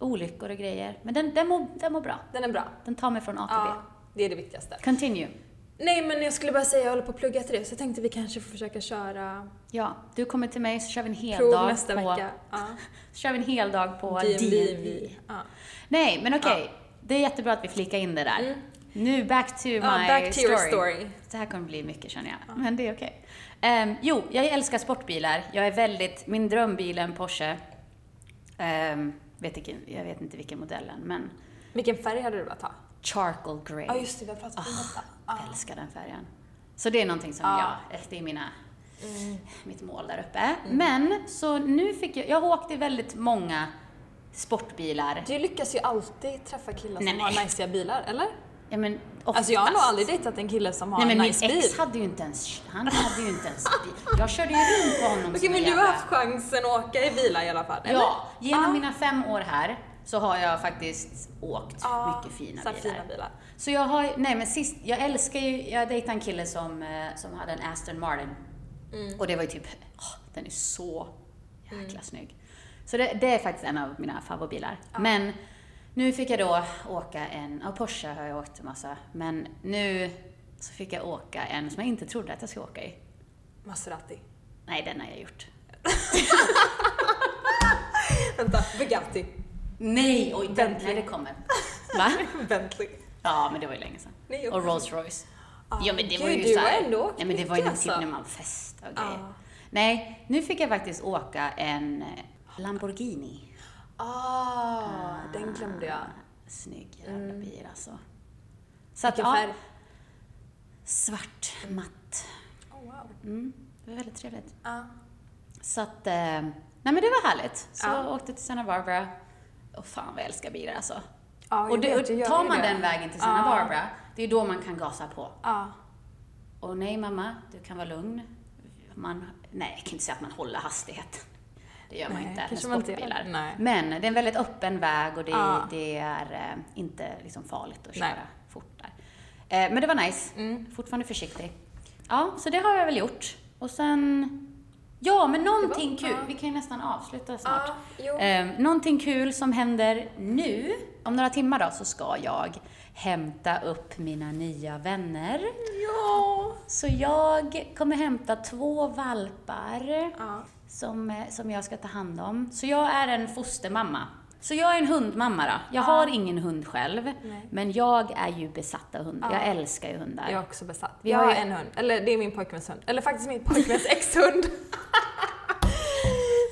Speaker 1: Olyckor och grejer. Men den, den, mår, den mår bra.
Speaker 3: Den är bra.
Speaker 1: Den tar mig från A till
Speaker 3: Ja,
Speaker 1: B.
Speaker 3: det är det viktigaste.
Speaker 1: Continue.
Speaker 3: Nej men jag skulle bara säga jag håller på att plugga till det så jag tänkte vi kanske får försöka köra
Speaker 1: Ja, du kommer till mig så kör vi en hel
Speaker 3: prov
Speaker 1: dag
Speaker 3: nästa
Speaker 1: på...
Speaker 3: vecka. Ja.
Speaker 1: Så kör vi en hel dag på
Speaker 3: DMV.
Speaker 1: DMV.
Speaker 3: Ja.
Speaker 1: Nej, men okej. Det är jättebra att vi flikar in det där. Nu back to my
Speaker 3: Mm. Ja, back to
Speaker 1: story.
Speaker 3: your story.
Speaker 1: Det här kommer bli mycket känner jag, men det är okej. Ehm, jo, jag älskar sportbilar. Jag är väldigt, min drömbil är en Porsche. Ehm, vet inte, jag vet inte vilken modellen, men
Speaker 3: Vilken färg hade du velat ha?
Speaker 1: charcoal grey.
Speaker 3: Ja just det, vi har pratat
Speaker 1: Ah.
Speaker 3: om detta.
Speaker 1: Jag älskar den färgen. Så det är någonting som
Speaker 3: Ja.
Speaker 1: jag, det är mina,
Speaker 3: Mm.
Speaker 1: mitt mål där uppe. Men, så nu fick jag, jag har åkt i väldigt många sportbilar.
Speaker 3: Du lyckas ju alltid träffa killar
Speaker 1: Nej,
Speaker 3: som
Speaker 1: men-
Speaker 3: har najsiga bilar, eller?
Speaker 1: Ja, men
Speaker 3: Alltså jag har nog
Speaker 1: oftast.
Speaker 3: aldrig dejtat en kille som har
Speaker 1: Nej men
Speaker 3: en
Speaker 1: min
Speaker 3: nice bil.
Speaker 1: ex hade ju inte ens, han hade ju inte ens bil. Jag körde ju runt på honom
Speaker 3: Okej
Speaker 1: som
Speaker 3: men
Speaker 1: en
Speaker 3: du har
Speaker 1: jävla-
Speaker 3: haft chansen att åka i bilar i alla fall, eller?
Speaker 1: Ja, genom
Speaker 3: Ah.
Speaker 1: mina fem år här så har jag faktiskt åkt
Speaker 3: Ja,
Speaker 1: mycket fina
Speaker 3: Ah. så här
Speaker 1: bilar.
Speaker 3: fina bilar.
Speaker 1: Så jag har, nej men sist, jag älskar ju, jag dejtade en kille som, eh, som hade en Aston Martin. Och det var ju typ, åh, den är så jäkla snygg. Så det, det är faktiskt en av mina favoritbilar. Men nu fick jag då åka en, ja Porsche har jag åkt en massa, men nu så fick jag åka en som jag inte trodde att jag skulle åka i.
Speaker 3: Maserati.
Speaker 1: Nej, den har jag gjort.
Speaker 3: Vänta, Bugatti.
Speaker 1: Nej, oj, den, nej, det kommer. Va?
Speaker 3: Bentley.
Speaker 1: Ja, men det var ju länge sedan.
Speaker 3: Nej, jag-
Speaker 1: och Rolls Royce.
Speaker 3: Ah,
Speaker 1: ja, men det var
Speaker 3: gud,
Speaker 1: ju
Speaker 3: du
Speaker 1: så här,
Speaker 3: har ändå åkt
Speaker 1: Nej, men det var ju
Speaker 3: mycket,
Speaker 1: typ
Speaker 3: alltså.
Speaker 1: när man festade och
Speaker 3: Ah.
Speaker 1: grejer. Nej, nu fick jag faktiskt åka en eh, Lamborghini.
Speaker 3: Ah, den glömde jag.
Speaker 1: Ah,
Speaker 3: Mm.
Speaker 1: Snygg jävla bil alltså. Så att,
Speaker 3: Vilken
Speaker 1: ja,
Speaker 3: färg?
Speaker 1: svart, matt.
Speaker 3: Oh, wow.
Speaker 1: Mm, det var väldigt trevligt.
Speaker 3: Ah.
Speaker 1: Så att, eh, nej men det var härligt. Så
Speaker 3: Ja.
Speaker 1: jag åkte till Santa Barbara. Åh fan vad jag älskar bilar alltså.
Speaker 3: Ja, jag
Speaker 1: och det,
Speaker 3: vet, jag
Speaker 1: och
Speaker 3: gör
Speaker 1: tar
Speaker 3: ju
Speaker 1: man
Speaker 3: det.
Speaker 1: den vägen till Santa
Speaker 3: Ja.
Speaker 1: Barbara, det är då man kan gasa på.
Speaker 3: Ah.
Speaker 1: Och nej mamma, du kan vara lugn. Man, nej, jag kan inte säga att man håller hastigheten. Det gör man
Speaker 3: Nej,
Speaker 1: inte med
Speaker 3: kanske man inte gör.
Speaker 1: sportbilar.
Speaker 3: Nej.
Speaker 1: Men det är en väldigt öppen väg och det,
Speaker 3: Ja.
Speaker 1: det är eh, inte liksom farligt att köra
Speaker 3: Nej. Mm.
Speaker 1: fort där. Eh, men det var nice. Fortfarande försiktig. Ja, så det har jag väl gjort. Och sen... Ja, men någonting
Speaker 3: Det var-
Speaker 1: kul.
Speaker 3: ja.
Speaker 1: Vi kan ju nästan avsluta snart.
Speaker 3: Ah, jo.
Speaker 1: Eh, någonting kul som händer nu, om några timmar då, så ska jag hämta upp mina nya vänner.
Speaker 3: Ja.
Speaker 1: Så jag kommer hämta två valpar
Speaker 3: Ja.
Speaker 1: som, eh, som jag ska ta hand om. Så jag är en fostermamma. Så jag är en hundmamma då. Jag har ingen hund själv,
Speaker 3: Nej.
Speaker 1: men jag är ju besatt av hundar.
Speaker 3: Ja.
Speaker 1: Jag älskar ju hundar.
Speaker 3: Jag är också besatt.
Speaker 1: Vi
Speaker 3: jag
Speaker 1: har
Speaker 3: har
Speaker 1: ju-
Speaker 3: en hund. Eller det är min pojkväns hund. Eller faktiskt min pojkväns exhund.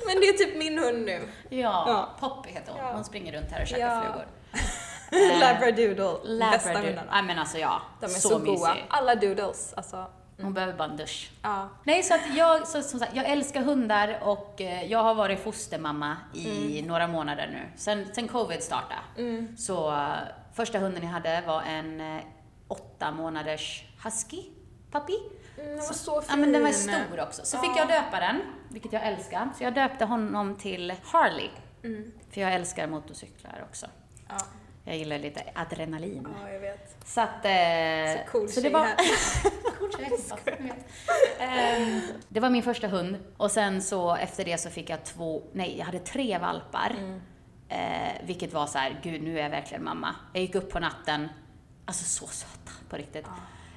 Speaker 3: Men det är typ min hund nu.
Speaker 1: Ja,
Speaker 3: Ja.
Speaker 1: Poppy heter hon.
Speaker 3: Ja.
Speaker 1: Hon springer runt här och käkar
Speaker 3: Ja.
Speaker 1: flugor. Eh,
Speaker 3: Labradoodle. Bästa
Speaker 1: Labrador.
Speaker 3: hundarna.
Speaker 1: Nej men alltså ja,
Speaker 3: De är så,
Speaker 1: så,
Speaker 3: goa.
Speaker 1: mysig.
Speaker 3: Alla doodles. Alltså,
Speaker 1: Hon behöver bara en dusch.
Speaker 3: ja.
Speaker 1: Nej, så att jag, så, som sagt, jag älskar hundar och eh, jag har varit fostermamma i
Speaker 3: Mm.
Speaker 1: några månader nu. Sen, sen covid startade. Så eh, första hunden jag hade var en eh, åtta månaders husky, puppy.
Speaker 3: Den Mm, var
Speaker 1: Så-
Speaker 3: så fin.
Speaker 1: Ja, men den var stor också. Så fick
Speaker 3: Ja.
Speaker 1: jag döpa den, vilket jag älskar. Så jag döpte honom till Harley.
Speaker 3: Mm.
Speaker 1: För jag älskar motorcyklar också.
Speaker 3: Ja,
Speaker 1: Jag gillar lite adrenalin.
Speaker 3: ja jag vet.
Speaker 1: Så att... eh,
Speaker 3: Så cool
Speaker 1: så det
Speaker 3: tjej
Speaker 1: var,
Speaker 3: här.
Speaker 1: Cool tjej, fast jag vet. Ehm, Det var min första hund och sen så efter det så fick jag två, nej jag hade tre valpar. Eh, vilket var så här, gud nu är jag verkligen mamma. Jag gick upp på natten, alltså så söta på riktigt.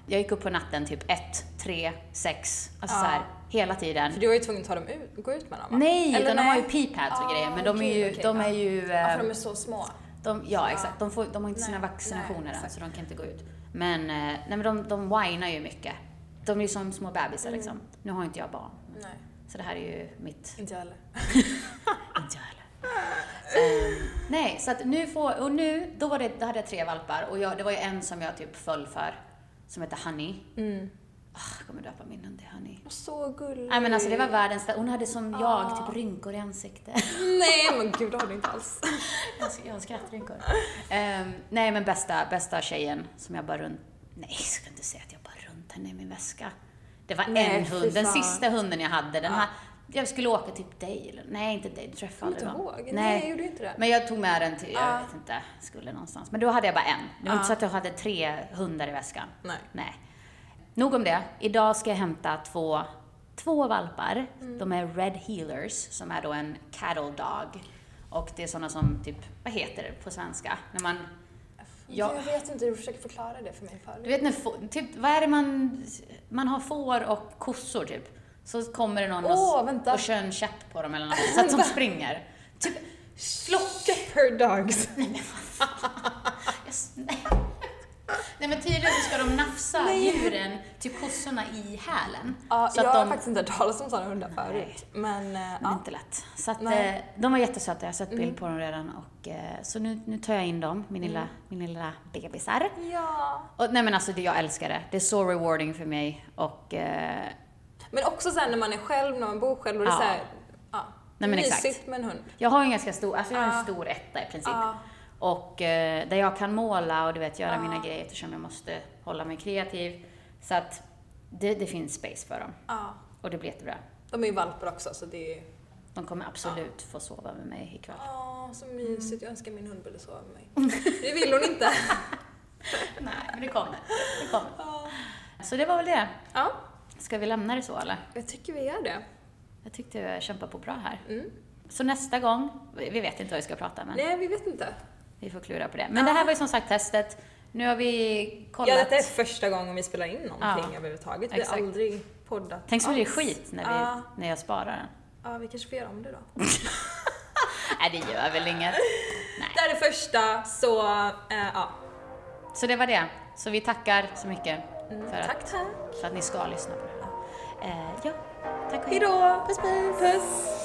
Speaker 1: Jag gick upp på natten typ ett, tre, sex, alltså
Speaker 3: Ja.
Speaker 1: så här hela tiden.
Speaker 3: För du var ju tvungen att ta dem ut, gå ut med dem va?
Speaker 1: Mm. Nej, utan de har ju
Speaker 3: nej?
Speaker 1: peepads och
Speaker 3: Ah,
Speaker 1: grejer men de är
Speaker 3: okej,
Speaker 1: ju,
Speaker 3: okej,
Speaker 1: de
Speaker 3: ja.
Speaker 1: är ju...
Speaker 3: Ja,
Speaker 1: ehm,
Speaker 3: för de är så små.
Speaker 1: de, ja, exakt. De, får, de har inte sina
Speaker 3: Nej,
Speaker 1: vaccinationer
Speaker 3: nej,
Speaker 1: än,
Speaker 3: exakt.
Speaker 1: så de kan inte gå ut. Men, eh, nej, men de, de whinar ju mycket. De är ju som små bebisar
Speaker 3: Mm.
Speaker 1: liksom. Nu har inte jag barn,
Speaker 3: Nej,
Speaker 1: så det här är ju mitt...
Speaker 3: inte jag heller.
Speaker 1: Inte jag heller. Ehm, nej, så att nu får... Och nu, då, var det, då hade jag tre valpar och jag, det var ju en som jag typ föll för, som hette Honey.
Speaker 3: Mm.
Speaker 1: Ah, jag kommer döpa min hund till Honey.
Speaker 3: Så gullig.
Speaker 1: Nej men alltså det var världens... Hon hade som jag,
Speaker 3: Ah.
Speaker 1: typ rynkor i ansiktet.
Speaker 3: Nej men gud, det har du inte alls.
Speaker 1: Jag ska- Jag har skrattrynkor. Ehm, nej, men bästa, bästa tjejen som jag bara runt... Nej, jag ska inte säga att jag bara runt henne i min väska. Det var
Speaker 3: Nej,
Speaker 1: en
Speaker 3: fy
Speaker 1: hund. Den
Speaker 3: fan.
Speaker 1: sista hunden jag hade, den här... Jag skulle åka typ dig eller... Nej, inte dig. Du träffade
Speaker 3: Kommer inte
Speaker 1: aldrig någon.
Speaker 3: ihåg. Nej, jag gjorde inte det.
Speaker 1: Men jag tog med den till... Jag
Speaker 3: Ja.
Speaker 1: vet inte. Skulle någonstans. Men då hade jag bara en. Det var
Speaker 3: Ja.
Speaker 1: inte så att jag hade tre hundar i väskan.
Speaker 3: Nej.
Speaker 1: Nej. Nog om det. Idag ska jag hämta två, två valpar.
Speaker 3: Mm.
Speaker 1: De är Red Healers, som är då en cattle dog. Och det är sådana som typ, vad heter det på svenska? När man, Ja.
Speaker 3: Jag vet inte, du försöker förklara det för mig förut.
Speaker 1: du vet när, få- typ, vad är det man, man har får och kossor typ. Så kommer det någon och,
Speaker 3: Åh,
Speaker 1: s-
Speaker 3: vänta.
Speaker 1: och kör en käpp på dem eller något, så att de springer. Typ, flock.
Speaker 3: Shepherd dogs.
Speaker 1: Jag s- nej. Nej men tydligen så ska de nafsa djuren till kossorna i hälen.
Speaker 3: Ja,
Speaker 1: så
Speaker 3: jag
Speaker 1: att
Speaker 3: har
Speaker 1: de...
Speaker 3: faktiskt inte hört talas om sådana hundar förut. Men eh,
Speaker 1: Det är
Speaker 3: ja.
Speaker 1: inte lätt. Så att,
Speaker 3: Nej.
Speaker 1: eh, de var jättesöta, jag har sett bild på dem redan. Och, eh, så nu, nu tar jag in dem, min lilla, min lilla bebisar.
Speaker 3: ja.
Speaker 1: Och, nej men alltså, det, jag älskar det. Det är så rewarding för mig. Och, eh,
Speaker 3: Men också sen när man är själv, när man bor själv, och det är
Speaker 1: Ja.
Speaker 3: så här, ja.
Speaker 1: Nej, men
Speaker 3: mysigt
Speaker 1: exakt.
Speaker 3: med en hund.
Speaker 1: jag har ju en ganska stor, alltså jag har en
Speaker 3: Ja.
Speaker 1: stor etta i princip.
Speaker 3: Ja.
Speaker 1: Och eh, där jag kan måla och du vet, göra mina grejer eftersom jag måste hålla mig kreativ. Så att det, det finns space för dem.
Speaker 3: ja.
Speaker 1: Och det blir jättebra.
Speaker 3: De är ju valpar också så det är
Speaker 1: De kommer absolut få sova med mig ikväll.
Speaker 3: Åh, så mysigt. Jag önskar min hund ville sova med
Speaker 1: Mm.
Speaker 3: mig. Det vill hon inte.
Speaker 1: Nej, men det kommer. Det kommer. Så det var väl det.
Speaker 3: Ja,
Speaker 1: Ska vi lämna det så eller?
Speaker 3: jag tycker vi gör det.
Speaker 1: Jag tyckte jag kämpade på bra här.
Speaker 3: Mm.
Speaker 1: Så nästa gång, vi vi vet inte vad vi ska prata men
Speaker 3: Nej, vi vet inte.
Speaker 1: vi får klura på det. Men det här var ju som sagt testet. Nu har vi kollat.
Speaker 3: Ja, detta är första gången vi spelar in någonting
Speaker 1: Ja,
Speaker 3: överhuvudtaget. Vi har
Speaker 1: exakt.
Speaker 3: aldrig poddat
Speaker 1: Tänk så blir det
Speaker 3: alls.
Speaker 1: skit när, vi,
Speaker 3: Ja,
Speaker 1: när jag sparar den.
Speaker 3: ja, vi kanske får göra om det då.
Speaker 1: Nej, det gör väl inget. Nej.
Speaker 3: Det här är första, så eh, ja.
Speaker 1: Så det var det. Så vi tackar så mycket för, att,
Speaker 3: Mm, Tack, tack.
Speaker 1: för att ni ska lyssna på det här. Eh, ja, tack och hej.
Speaker 3: Hejdå! Puss, puss! puss.